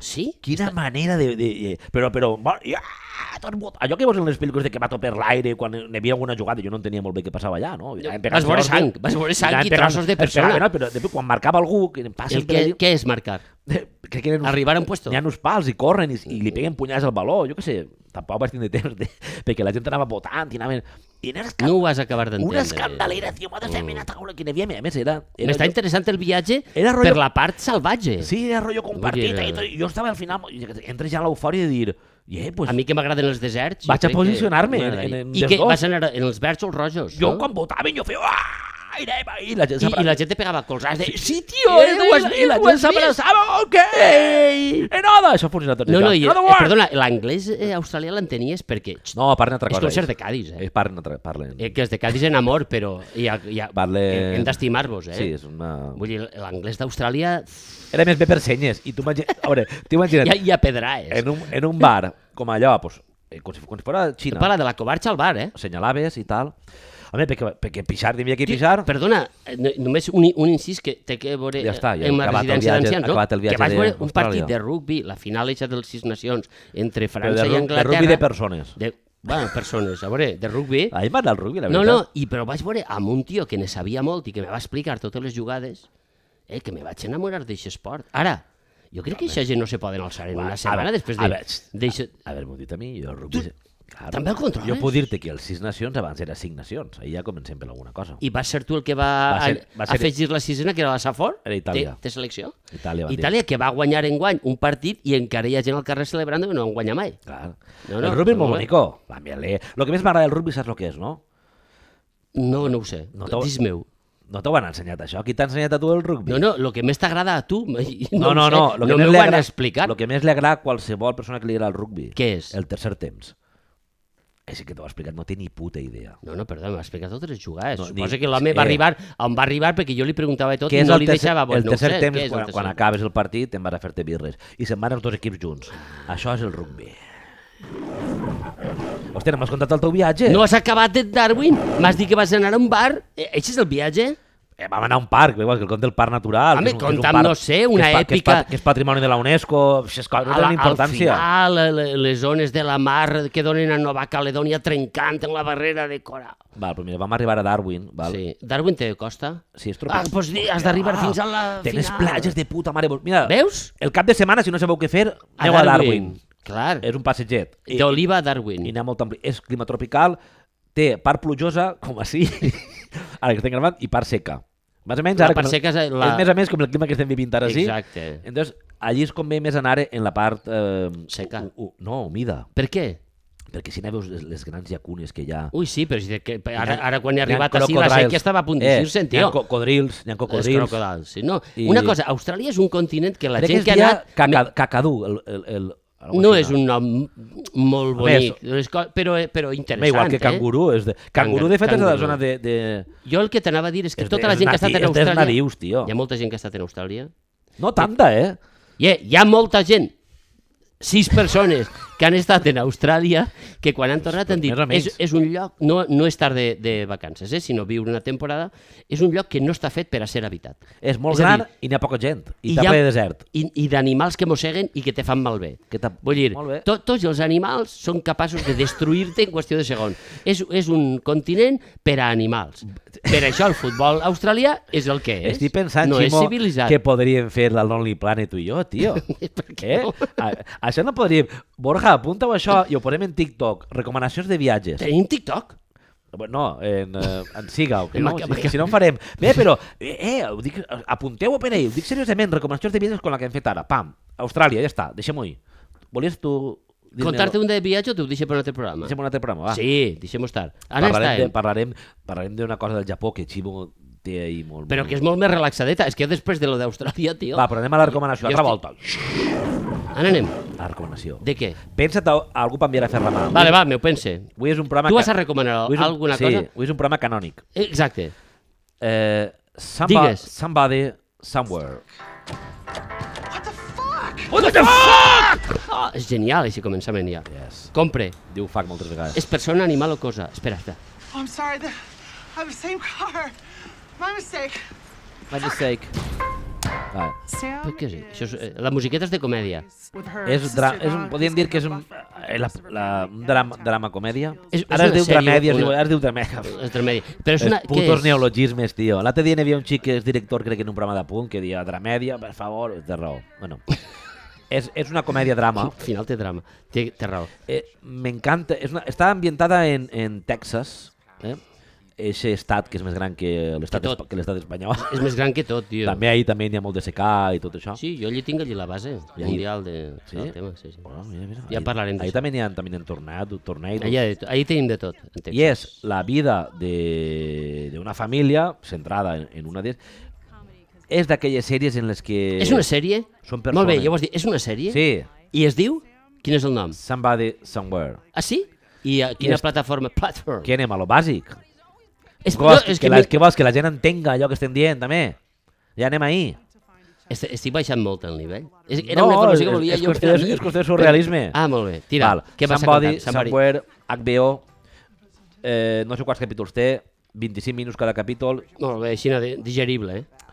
Sí?
Quina Està... manera de... de, de però, però... va- i- ah, tot bot- Allò que veus en les pel·lícules de que va tot per l'aire quan hi havia alguna jugada, jo no entenia molt bé què passava allà, no? I anaven pegant
Vas veure
trossos,
sang, vas veure sang
anaven
i
pegant-
trossos de
es pegaven,
persona.
no? Però de- quan marcava algú, que passa...
El que, què és marcar?
crec que eren uns,
Arribar a un puesto.
N'hi ha uns pals i corren i, i li peguen punyades al baló, jo què sé, tampoc vaig tindre temps de, perquè la gent anava votant i anaven... I no
No ho vas acabar d'entendre.
una escandalera, tio, m'ha de fer mm. taula que n'hi havia, a més, era... era
M'està interessant el viatge
Era rotllo-
per la part salvatge.
Sí, era rotllo compartit,
Vull dir, eh,
i tot, i jo estava al final, i entres ja a l'eufòria de dir, i eh, pues,
A mi que m'agraden els deserts...
Vaig
jo
a
crec que
posicionar-me en-
m'agradaria.
en- en
I
dels
que
dos.
vas anar en els verds o els rojos,
jo
no?
quan votaven jo feia... "Ah, I, anava", i la gent
I, I
s'abraçava.
la gent te pegava colzats de... Sí, tio,
I,
eh, ho has,
i la
ho
gent
has vist?
s'abraçava, ok! Enoda! Això funciona tot.
No, no, i, eh,
Another one!
perdona, l'anglès eh, australià l'entenies perquè...
No, parlen altra
és
cosa.
com ser de Cádiz, eh?
ells parlen, altra- parlen.
Eh, que els de Cádiz en amor, però ja, ja
Parlen-
hem d'estimar-vos, eh?
Sí, és una...
Vull dir, l'anglès d'Austràlia
Era més bé per senyes. I tu imagina... A veure, t'imagina't,
ja, ja pedraes.
en, un, en un bar, com allò, pues, eh, com si, com si fos a Xina,
Parla de la covarxa al bar, eh?
senyalaves i tal. Home, perquè, perquè pixar, n'hi havia que pixar.
Perdona, eh, no- només un, un incís que té que veure eh,
Ja està, ja
en
hem
una
acabat el
residència
viatge-
d'ancians, no?
acabat el viatge
que vaig veure un
d'Austràlia.
partit de rugby, la final eixa dels Sis Nacions, entre
Però
França
de,
i
ru- de
Anglaterra.
rugby de persones.
De, bueno, persones, a veure, de rugby.
A mi m'agrada el rugby, la
No,
veritat.
no, i però vaig veure amb un tio que ne sabia molt i que me va explicar totes les jugades, eh, que me vaig enamorar d'aquest esport. Ara, jo crec que aquesta gent no se poden alçar en
Va,
una
a
setmana
veure,
després
a
de...
veure,
d'eixa-
A veure, m'ho dit a mi, jo el rugby...
Tu
Claro.
també el controles?
Jo puc dir-te que els sis nacions abans era cinc nacions. Ahir ja comencem per alguna cosa. I...
I va ser tu el que va,
Va ser- va ser-
afegir la sisena, que era la Safor,
Era Itàlia.
de, de selecció.
Itàlia, van dir.
Itàlia, que va guanyar en guany un partit i encara hi ha gent al carrer celebrant que no van guanyar mai.
Clar.
No,
No,
no,
no, el rugby és molt
molt bé.
bonico. La mielé. Lo que més m'agrada del rugby saps el que és, no?
No, no ho sé. No
No t'ho-
Dis meu.
No t'ho han ensenyat això. Qui t'ha ensenyat a tu el rugby?
No, no, el que més t'agrada a tu, i
No,
ho
no,
sé,
no. Lo que
no
més
m'ho
li
van
agra-
explicar.
Lo que més li agrada a qualsevol persona que li agrada el rugby.
Què és?
El tercer temps. És que t'ho ha explicat, no té ni puta idea.
No, no, perdó, m'ha explicat totes les jugades. No,
No,
Suposa
dic-
que l'home va
eh.
arribar on va arribar perquè jo li preguntava i tot i
és
no
el
li
tercer,
deixava. Bueno,
el tercer
no ho sé,
temps,
què és el
quan,
tercer
quan acabes el partit, te'n vas a fer-te birres. I se'n van els dos equips junts. Això és el rugby. Hòstia, no m'has contat el teu viatge?
No has acabat de Darwin? M'has dit que vas anar a un bar? Eh, Això és el viatge?
Eh, vam anar a un parc, igual que el conte del Parc Natural. que
Home,
és un- que és un
conta'm,
parc
no sé, una
que és, pa- Que és,
èpica-
pa- que és patrimoni de la UNESCO, això és cosa, no
A la-
tenen importància.
Al final, eh, le- les zones de la mar que donen a Nova Caledònia trencant en la barrera de Coral.
Val, però mira, vam arribar a Darwin, val?
Sí. Darwin té costa?
Sí, és
Ah,
tropez.
doncs di- has d'arribar fins a la
Té les
final.
platges de puta mare. Mira,
Veus?
el cap de setmana, si no sabeu què fer, aneu a Darwin.
Clar.
És un passeget. I,
D'Oliva a
i
Darwin.
anar molt ampli. És clima tropical, té part plujosa, com així, ara que estem gravant, i part seca. Més o menys,
La
ara,
part
com-
seca és la-
és més a més com el clima que estem vivint ara, sí?
Exacte.
Entonces, allí és com ve més anar en la part... Eh,
Seca.
U, u, no, humida.
Per què?
Perquè si neveus les, les grans llacunes que hi ha...
Ui, sí, però si de- que- ara,
Hi ha-
ara quan he
hi ha
arribat així la
crocodiles. Eh,
sequia estava a punt de dir-se'n,
Hi
tio.
ha cocodrils, hi ha
Els
cocodrils.
crocodils, sí. No,
I-
una cosa, Austràlia és un continent que la
Crec que
gent
es
que ha
deia caca,
anat...
cacadú. El, el, el, algo
No
així,
és un nom molt
A més,
bonic, les co- però, eh, però interessant.
Home,
eh?
igual que canguru. És de... Canguru, de fet, és de la
Canguru.
zona de... de...
Eh? Jo el que t'anava a dir és que
és de-
tota la
és
gent que ha estat
nati-
en
és dels
Austràlia...
nadius, tio.
Hi ha molta gent que ha estat en Austràlia.
No tanta, eh?
I eh, hi ha molta gent, sis persones que han estat en Austràlia que quan han tornat han dit
Més o
és,
menys.
és un lloc, no, no estar de, de vacances, eh, sinó viure una temporada, és un lloc que no està fet per a ser habitat.
És molt
És a
gran
dir,
i n'hi ha poca gent. I, I
hi ha-
tapa de desert.
I, i d'animals que mosseguen i que te fan malbé.
Que tap-
Vull dir,
Molt bé.
to, tots els animals són capaços de destruir-te en qüestió de segon. És, és un continent per a animals. Per això el futbol australià és el que és.
Estic pensant,
no
Ximo,
és civilitzat.
que podríem fer la Lonely Planet tu i jo, tio.
Per què
Eh?
no?
A, això no podríem... Borja, Vinga, apunta-ho això i ho posem en TikTok. Recomanacions de viatges.
Tenim TikTok?
No, en, eh, en siga, o que no,
Maca-
si,
maca-
si no en farem. Bé, però, eh, eh ho dic, apunteu-ho per ahir, ho dic seriosament, recomanacions de viatges com la que hem fet ara. Pam, Austràlia, ja està, deixem-ho ahir. Volies tu... dir-me-
Contar-te un de viatge o t'ho deixem per un altre programa?
Deixem un altre programa, va.
Sí, eh? deixem-ho estar.
parlarem,
Ara
de,
estàvem.
parlarem, parlarem d'una cosa del Japó que Ximo té ahir molt...
Però que és molt més relaxadeta. És que després de lo d'Austràlia, tio...
Va, però anem a la recomanació,
Jo
altra
estic-
volta.
Ara anem.
La recomanació.
De què?
Pensa't, a- algú pot enviar a fer la mà.
Vale, va, m'ho pense.
Avui és un programa
Tu
que-
vas a recomanar
avui és un-
alguna
sí,
cosa?
avui és un programa canònic.
Exacte.
Eh, somebody,
Digues.
somebody, somewhere.
Ah, és genial, així començament ja.
Yes.
Compre.
Diu fuck moltes vegades.
És persona, animal o cosa? Espera, espera.
I'm sorry. The, I have the same car. My mistake.
My mistake. Ah,
Sam
Però què és? Això és, eh, la musiqueta és de comèdia.
with her
és,
sister
dra és un,
Dawn
podríem dir que és un, eh, la, la, un drama, drama comèdia.
És- és
Ara es
una
diu
sèrie,
dramèdia, es diu,
una-
ara es diu dramèdia.
És dramèdia. Però és
És
una... què
putos
és?
neologismes, tio. L'altre dia n'hi havia un xic que és director, crec que en un programa de punt, que dia dramèdia, per favor, té raó. Bueno, és, és una comèdia-drama.
Al final té drama. Té, té raó.
Eh, M'encanta. És una- Està ambientada en, en Texas, eh? Eixe estat que és més gran que l'estat
Que tot.
espa- que l'estat espanyol.
És més gran que tot, tio.
També ahir també n'hi ha molt de secà i tot això.
Sí, jo allí tinc allí la base
I ahí-
mundial de,
Sí?
del tema. Sí, sí.
Bueno, mira, mira.
Ja
ahir-
parlarem d'això.
Ahir també n'hi ha també n'hi ha tornat, tornat.
Allà, allà tenim de tot. en Texas.
I és la vida de- d'una família centrada en, en una d'elles. És d'aquelles sèries en les que...
És una sèrie?
Són
Molt bé,
persones.
ja ho has dit. És una sèrie?
Sí,
I es diu? Quin és el nom?
Somebody Somewhere.
Ah, sí? I a quina
és-
plataforma? Platform.
Que anem a lo bàsic.
És,
Vols,
no,
que,
és
que,
que,
la,
mi-
que vols que la gent entenga allò que estem dient, també? Ja anem ahir.
est- estic baixant molt el nivell. És, era una informació que volia
és,
jo.
és,
per a
és,
mi.
és qüestió de surrealisme.
Ah, molt bé. Tira,
Val.
què vas
Somebody,
a contar? Somebody.
Somewhere, HBO, eh, no sé quants capítols té, 25 minuts cada capítol.
Molt bé, així de- digerible, eh?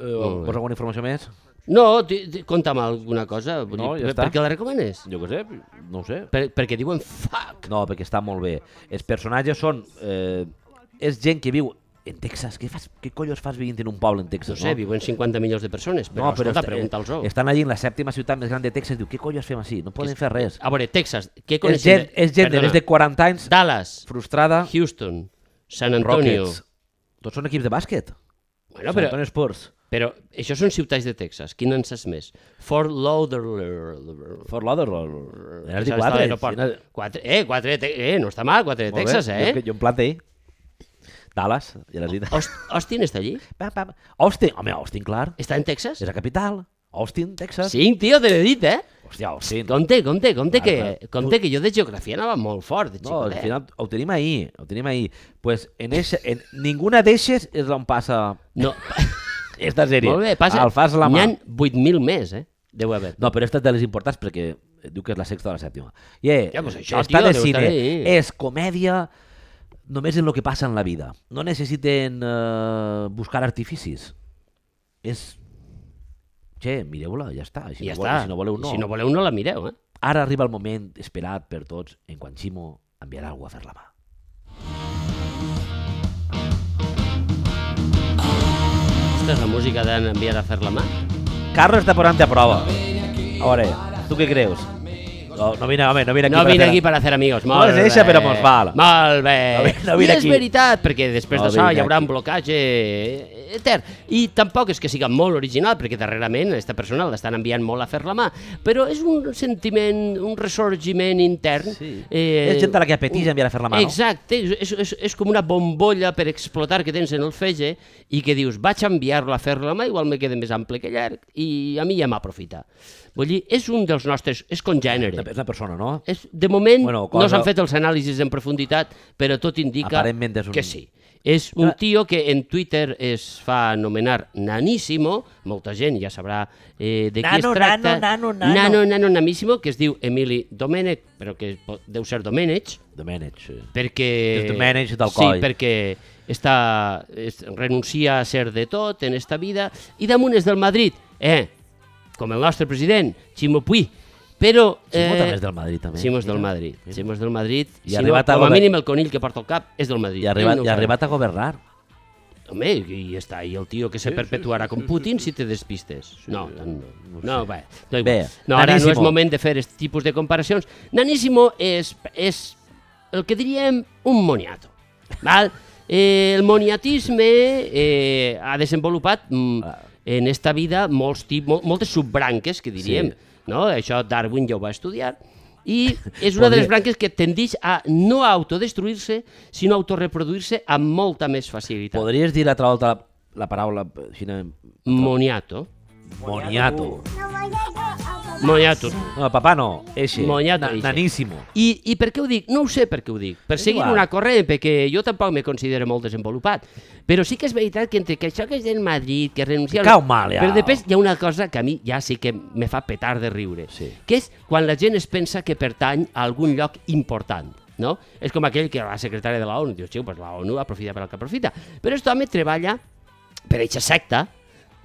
Eh, vols alguna informació més?
No, ti- ti- conta'm alguna cosa. Vull
No,
dir,
ja
per-
està.
Per què la recomanes?
Jo què sé, no ho sé.
Per, perquè diuen fuck.
No, perquè està molt bé. Els personatges són... Eh, és gent que viu en Texas. Què, fas, què collos fas vivint en un poble en
No
Texas?
sé, viuen 50 milions de persones, però, no, però escolta,
est-
pregunta'ls-ho.
Estan allí en la sèptima ciutat més gran de Texas. Diu, què collos fem així? No poden fer res.
A veure, Texas, què
És
coneixem?
gent, és gent de
Perdona.
més de 40 anys,
Dallas,
frustrada,
Houston, San Antonio...
Rockets. Tots són equips de bàsquet.
Bueno,
San
però,
Antonio Spurs.
però això són ciutats de Texas, quin en saps més? Fort Lauderdale...
Fort Lauderdale. N'has dit
Això està a
4.
l'aeroport. Quatre, eh, quatre, de Te- eh, no està mal, quatre de Texas,
Jo,
eh?
jo em plante ahir. Dallas, ja l'has dit.
Aust- Austin està allí?
Pam, pam. Austin, home, Austin, clar.
Està en Texas?
És la capital. Austin, Texas.
Sí, tio, te l'he dit, eh?
Hòstia, Austin.
Compte, compte, compte,
Clar,
que,
clar.
compte que jo de geografia anava molt fort, de
No, al
xicotet.
final ho tenim ahí, ho tenim ahí. Pues en, eixa, en ninguna d'eixes és on passa
No,
esta sèrie.
molt bé, passa...
El fas la
N'hi
mà.
ha 8.000 més, eh? Deu haver.
No, però esta és de les importants perquè diu que és la sexta o la sèptima. Yeah,
Ja, pues això,
està
tio,
de
deu
cine,
estar ahí.
és comèdia només en lo que passa en la vida. No necessiten eh, buscar artificis. És... Che, mireu-la, ja està. Si
I ja
no voleu, Si no voleu,
està.
no.
Si no voleu, no la mireu, eh?
Ara arriba el moment esperat per tots en quan Ximo enviarà algú a fer la mà.
Aquesta és la música d'enviar a fer la mà.
Carlos està posant a prova. A veure, tu què creus? No, no vine, home, no vine aquí
No
per
vine
fer-
aquí per hacer amigos,
No
molt
és eixa,
bé.
però mos val.
Molt bé.
No vi- no
I
vine
és
aquí.
veritat, perquè després
No
d'això
vine
hi haurà un
aquí.
blocatge etern. I tampoc és que siga molt original, perquè darrerament aquesta persona l'estan enviant molt a fer la mà, però és un sentiment, un ressorgiment intern. eh,
Sí. És gent a la que apeteix enviar a fer la mà, no?
Exacte, és, és, és, és com una bombolla per explotar que tens en el fege i que dius, vaig a enviar-la a fer la mà, igual me queda més ample que llarg, i a mi ja m'aprofita. Vull dir, és un dels nostres, és congènere.
És una persona, no?
És, de moment
Bueno,
bueno,
cosa-
no s'han fet els anàlisis en profunditat, però tot indica
Aparentment és un-
que sí. És un tio que en Twitter es fa anomenar Nanísimo, molta gent ja sabrà eh, de qui
Nano,
es tracta.
nano, nano, nano.
Nano, nano, Nanísimo, que es diu Emili Domènech, però que po- deu ser Domènech,
The
Eh,
Manage.
perquè...
És Domènech d'Alcoi.
Sí, perquè està, es, renuncia a ser de tot en esta vida i damunt és del Madrid, eh, com el nostre president, Ximo Puig, però... eh,
Ximo també és del Madrid, també.
Ximo és del
Mira,
Madrid. Ximo és del Madrid.
I
si
arribat
no,
a
com a
gover-
mínim el conill que porta al cap és del Madrid.
I ha arribat,
Ell no ho
i ha
farà.
arribat a governar.
Home, i ja està, i el tio que se perpetuarà com Putin si te despistes. No, tant no. No, va, no, igual.
Bé,
no, ara no és
Nanísimo.
moment de fer aquest tipus de comparacions. Nanísimo és, és el que diríem un moniato. Val? Eh, el moniatisme eh, ha desenvolupat mm,
Ah.
en esta vida molts tip, mol, moltes subbranques, que diríem.
Sí.
No? Això Darwin ja ho va estudiar. I és una de les
Podria-
branques que tendeix a no autodestruir-se, sinó a autorreproduir-se amb molta més facilitat.
Podries dir l'altra volta la, la paraula eh, xina...
Moniato.
Moniato.
Moniato.
No, papà no, eixe.
Moniato,
Na-
eixe.
Nanísimo.
I, I per què ho dic? No ho sé per què ho dic. Per
És
seguir
igual.
una corrent, perquè jo tampoc me considero molt desenvolupat. Però sí que és veritat que entre que això que és del Madrid, que renuncia...
Te cau mal, ja.
Però després hi ha una cosa que a mi ja sí que me fa petar de riure,
Sí.
que és quan la gent es pensa que pertany a algun lloc important. No? És com aquell que la secretària de la ONU diu, xiu, pues la ONU aprofita per al que aprofita. Però aquest home treballa per aquesta secta,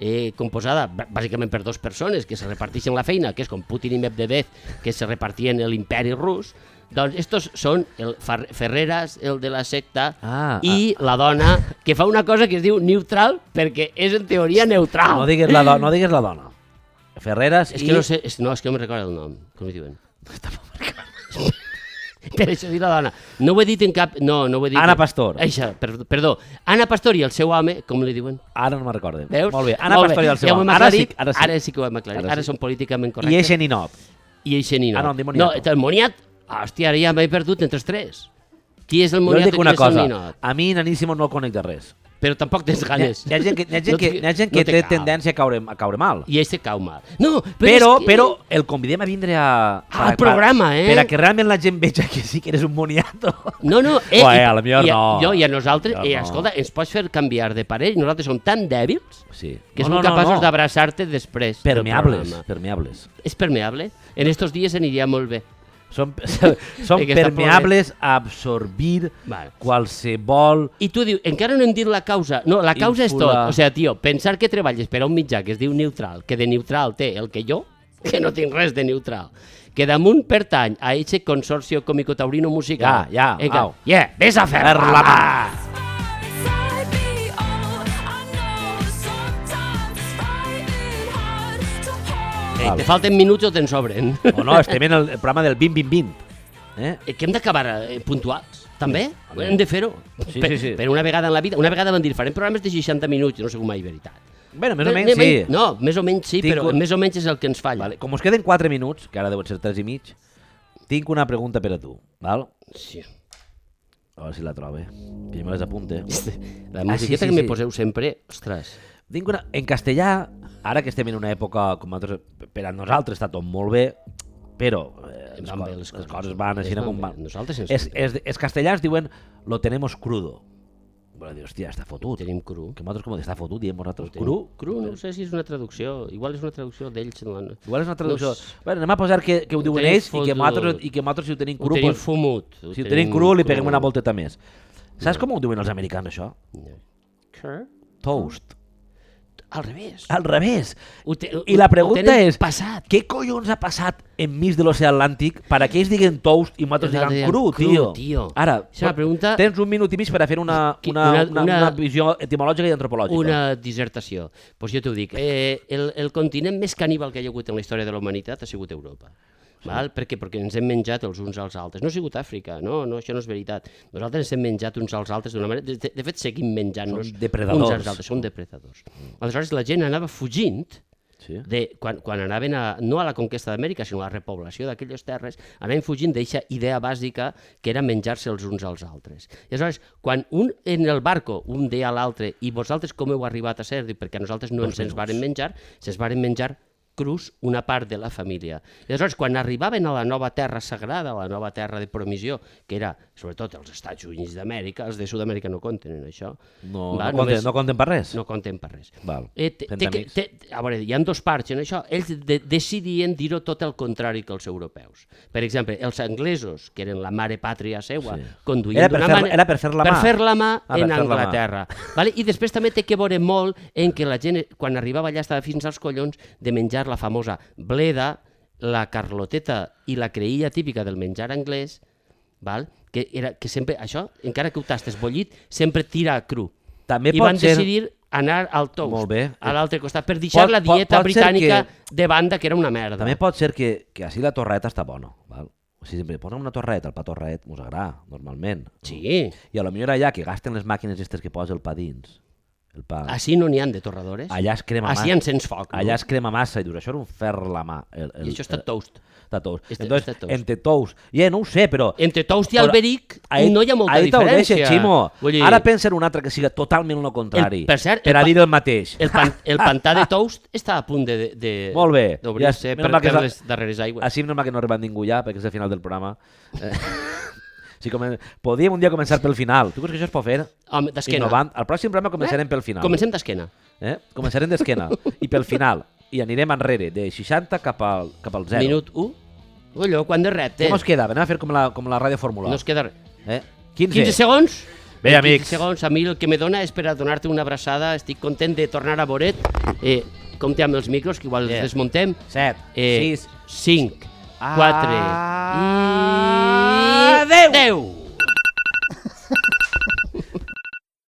eh, composada bà- bàsicament per dues persones que se reparteixen la feina, que és com Putin i Medvedev, que se repartien l'imperi rus, doncs estos són el Fer- Ferreras, el de la secta,
Ah,
i la dona, que fa una cosa que es diu neutral, perquè és en teoria neutral.
No digues la, do no digues la dona. Ferreras
És
i...
que no sé, és, no, és que no me'n recordo el nom, com es diuen. Per això dic la dona. No ho he dit en cap... No, no ho he dit...
Ana Pastor.
Això, per, perdó. Ana Pastor i el seu home, com li diuen?
Ara no me'n recorden.
Veus?
Molt bé. Ara
Molt
Pastor i el seu
ja ho hem
home. Ara sí,
aclarit,
ara sí.
Ara sí que ho hem aclarit.
Ara
Ara,
sí.
són políticament correctes.
I eixe ninot.
I eixe ni no.
Ah, no, el demoniato.
No, el moniat... Hòstia, ara ja m'he perdut entre els tres. Qui és el
Jo
moniat
et dic una
i qui és
cosa.
el ninot?
A mi Nanísimo no el conec de res.
Però tampoc tens
Hi ha,
ganes.
hi ha gent que, hi ha gent
No
que,
té-
hi ha gent que
no té
té
cap.
tendència a caure, a caure mal.
I eixe cau mal. No, però...
Però,
és que... Ah,
però el convidem a vindre a...
Al programa, eh?
Per a que realment la gent veja que sí que eres un moniato.
No, no, eh,
Ué,
i-
a la millor
i a,
no.
Jo i a nosaltres,
A la
eh,
millor no.
escolta, ens pots fer canviar de parer, nosaltres som tan dèbils
Sí.
que som capaços d'abraçar-te després del
Permeables,
programa.
permeables.
És permeable? En estos dies aniria molt bé.
Són, són
Perquè està
permeables a absorbir
Vale.
qualsevol...
I tu dius, encara no hem dit la causa. No, la causa és
Ínfula.
tot. O sigui, tio, pensar que treballes per a un mitjà que es diu neutral, que de neutral té el que jo, que no tinc res de neutral, que damunt pertany a aquest consorcio còmico-taurino musical.
Ja, ja,
Vinga,
au.
yeah, vés a fer
Per la mà!
Ei,
Val.
Eh, te falten minuts o te'n sobren?
O no, estem en el, el programa del 20-20-20. Eh?
Eh, que hem d'acabar eh, puntuals, també.
Sí.
Hem de fer-ho.
Sí,
per,
sí, sí.
per una vegada en la vida. Una vegada van dir, farem programes de 60 minuts, no sé com mai veritat.
Bueno, més o
Però
menys sí.
anem- No, més o menys sí,
Tinc
però
un-
més o menys és el que ens falla.
Vale. Com us queden 4 minuts, que ara deuen ser 3 i mig, tinc una pregunta per a tu, val?
Sí.
A veure si la trobe, que jo me les apunte.
La
sí,
musiqueta
sí,
que
sí.
me poseu sempre, ostres.
Tinc una... En castellà, ara que estem en una època com nosaltres, per a nosaltres està tot molt bé, però eh,
Ens
les,
van
co
bé les
les,
coses.
coses van
Ens
així
van
com
bé.
van.
Nosaltres ens
Es,
van
es, es castellans diuen lo tenemos crudo. Bueno, dius, hòstia, està fotut.
Tenim cru.
Que nosaltres com està fotut, diem vosaltres
Tenim-
cru.
Cru, no sé si és una traducció. Igual és una traducció d'ells. No, no.
Igual és una traducció.
No
No,
sé.
bueno, anem a posar que, que ho
Ho
diuen
tenim
ells i que,
fotut.
nosaltres, i que nosaltres si ho tenim
Ho
cru,
tenim
pues,
fumut. ho
si ho tenim cru li peguem
cru.
una volteta més. Saps com ho diuen els americans, això?
Cur?
Toast.
Al revés.
Al revés.
Ah, Ho te-
I la
ho
pregunta
tenen
és,
passat.
què collons ha passat enmig de l'oceà Atlàntic per a que ells diguen toast i nosaltres
Nosaltres
diguem
diem
cru,
cru,
tio?
tio.
Ara,
És una pregunta-
tens un minut i mig per a fer una,
Que-
una, una,
una-
una,
una-
visió etimològica i antropològica.
Una dissertació. Doncs pues jo t'ho dic. Eh, el, el continent més caníbal que hi ha hagut en la història de la humanitat ha sigut Europa. Val? Per què? Perquè ens hem menjat els uns als altres. No ha sigut Àfrica, no, no, això no és veritat. Nosaltres ens hem menjat uns als altres d'una manera... De, de, de fet, seguim menjant-nos
Són depredadors.
uns als altres. Són depredadors. Aleshores, la gent anava fugint
Sí.
de, quan, quan anaven a, no a la conquesta d'Amèrica, sinó a la repoblació d'aquelles terres, anaven fugint d'eixa idea bàsica que era menjar-se els uns als altres. I aleshores, quan un en el barco, un deia a l'altre, i vosaltres com heu arribat a ser? Diu, perquè nosaltres no ens ens varen menjar, se'ns varen menjar crus una part de la família. I aleshores, quan arribaven a la nova terra sagrada, a la nova terra de promissió, que era, sobretot, els Estats Units d'Amèrica, els de Sud-amèrica no compten en això.
No,
va,
no, compten,
només-
no compten per res.
no compten per res.
Val.
Eh, té,
Fent
té, que-
amics.
té, a veure, hi ha dos parts en això. Ells de, decidien dir-ho tot el contrari que els europeus. Per exemple, els anglesos, que eren la mare pàtria seua,
Sí.
sí. conduïen
Era per
d'una
fer-
mane-
era per fer la mà.
Per fer la mà
Ah, per
en
fer la mà.
Anglaterra. Vale? I després també té que veure molt en que la gent, quan arribava allà, estava fins als collons de menjar la famosa bleda, la carloteta i la creïlla típica del menjar anglès, val? que, era, que sempre, això, encara que ho tastes bollit, sempre tira a cru.
També
i
pot
van
ser-
decidir anar al toast,
Molt bé.
a l'altre costat, per deixar
Pot-
la
pot-
dieta
pot ser
britànica
que-
de banda, que era una merda.
També pot ser que, que així la torreta està bona, val? O sigui, sempre posa'm una torreta, el pa torret mos agrada, normalment.
Sí,
I a lo millor allà que gasten les màquines aquestes que posa el pa dins, el pa...
així no n'hi han de torradores.
Allà es crema
Així
massa.
encens foc. no?
Allà es crema massa i dius, això era un ferro la mà. El, el,
I això està
el-
toast.
Està tous.
Este-
Entonces,
este tous.
entre tous. Ja, no ho sé, però...
Entre toast i
Però
alberic no hi ha molta
ahí
diferència.
Ahí Ximo.
Vull dir,
Ara pensa en un altre que siga totalment el contrari.
El- per cert,
per
el
a
pa-
dir el mateix.
el, pan, el pantà de toast està a punt de... de- de
Molt bé.
D'obrir-se
Ja-
ja,
menys
per,
mal que
per
és la-
les darreres aigües.
Així no que no arribem ningú ja, perquè és el final del programa. Eh, sí, com... Podríem un dia començar pel final. Tu creus que això es pot fer?
Home, d'esquena.
Innovant. El pròxim programa començarem pel final.
Eh? Comencem d'esquena.
Eh? Començarem d'esquena i pel final. I anirem enrere, de 60 cap al, cap al 0.
Minut 1. Allò, quan de repte.
Què mos queda? Anem a fer com la, com la ràdio Fórmula.
No es queda res.
Eh? 15.
15 segons?
Bé,
Eh,
amics.
15 segons. A mi el que me dona és per a donar-te una abraçada. Estic content de tornar a veure't. Eh, compte amb els micros, que igual
Yeah.
els desmuntem.
7,
Eh,
6,
5, 4
Adeu! Ah,
i... 10!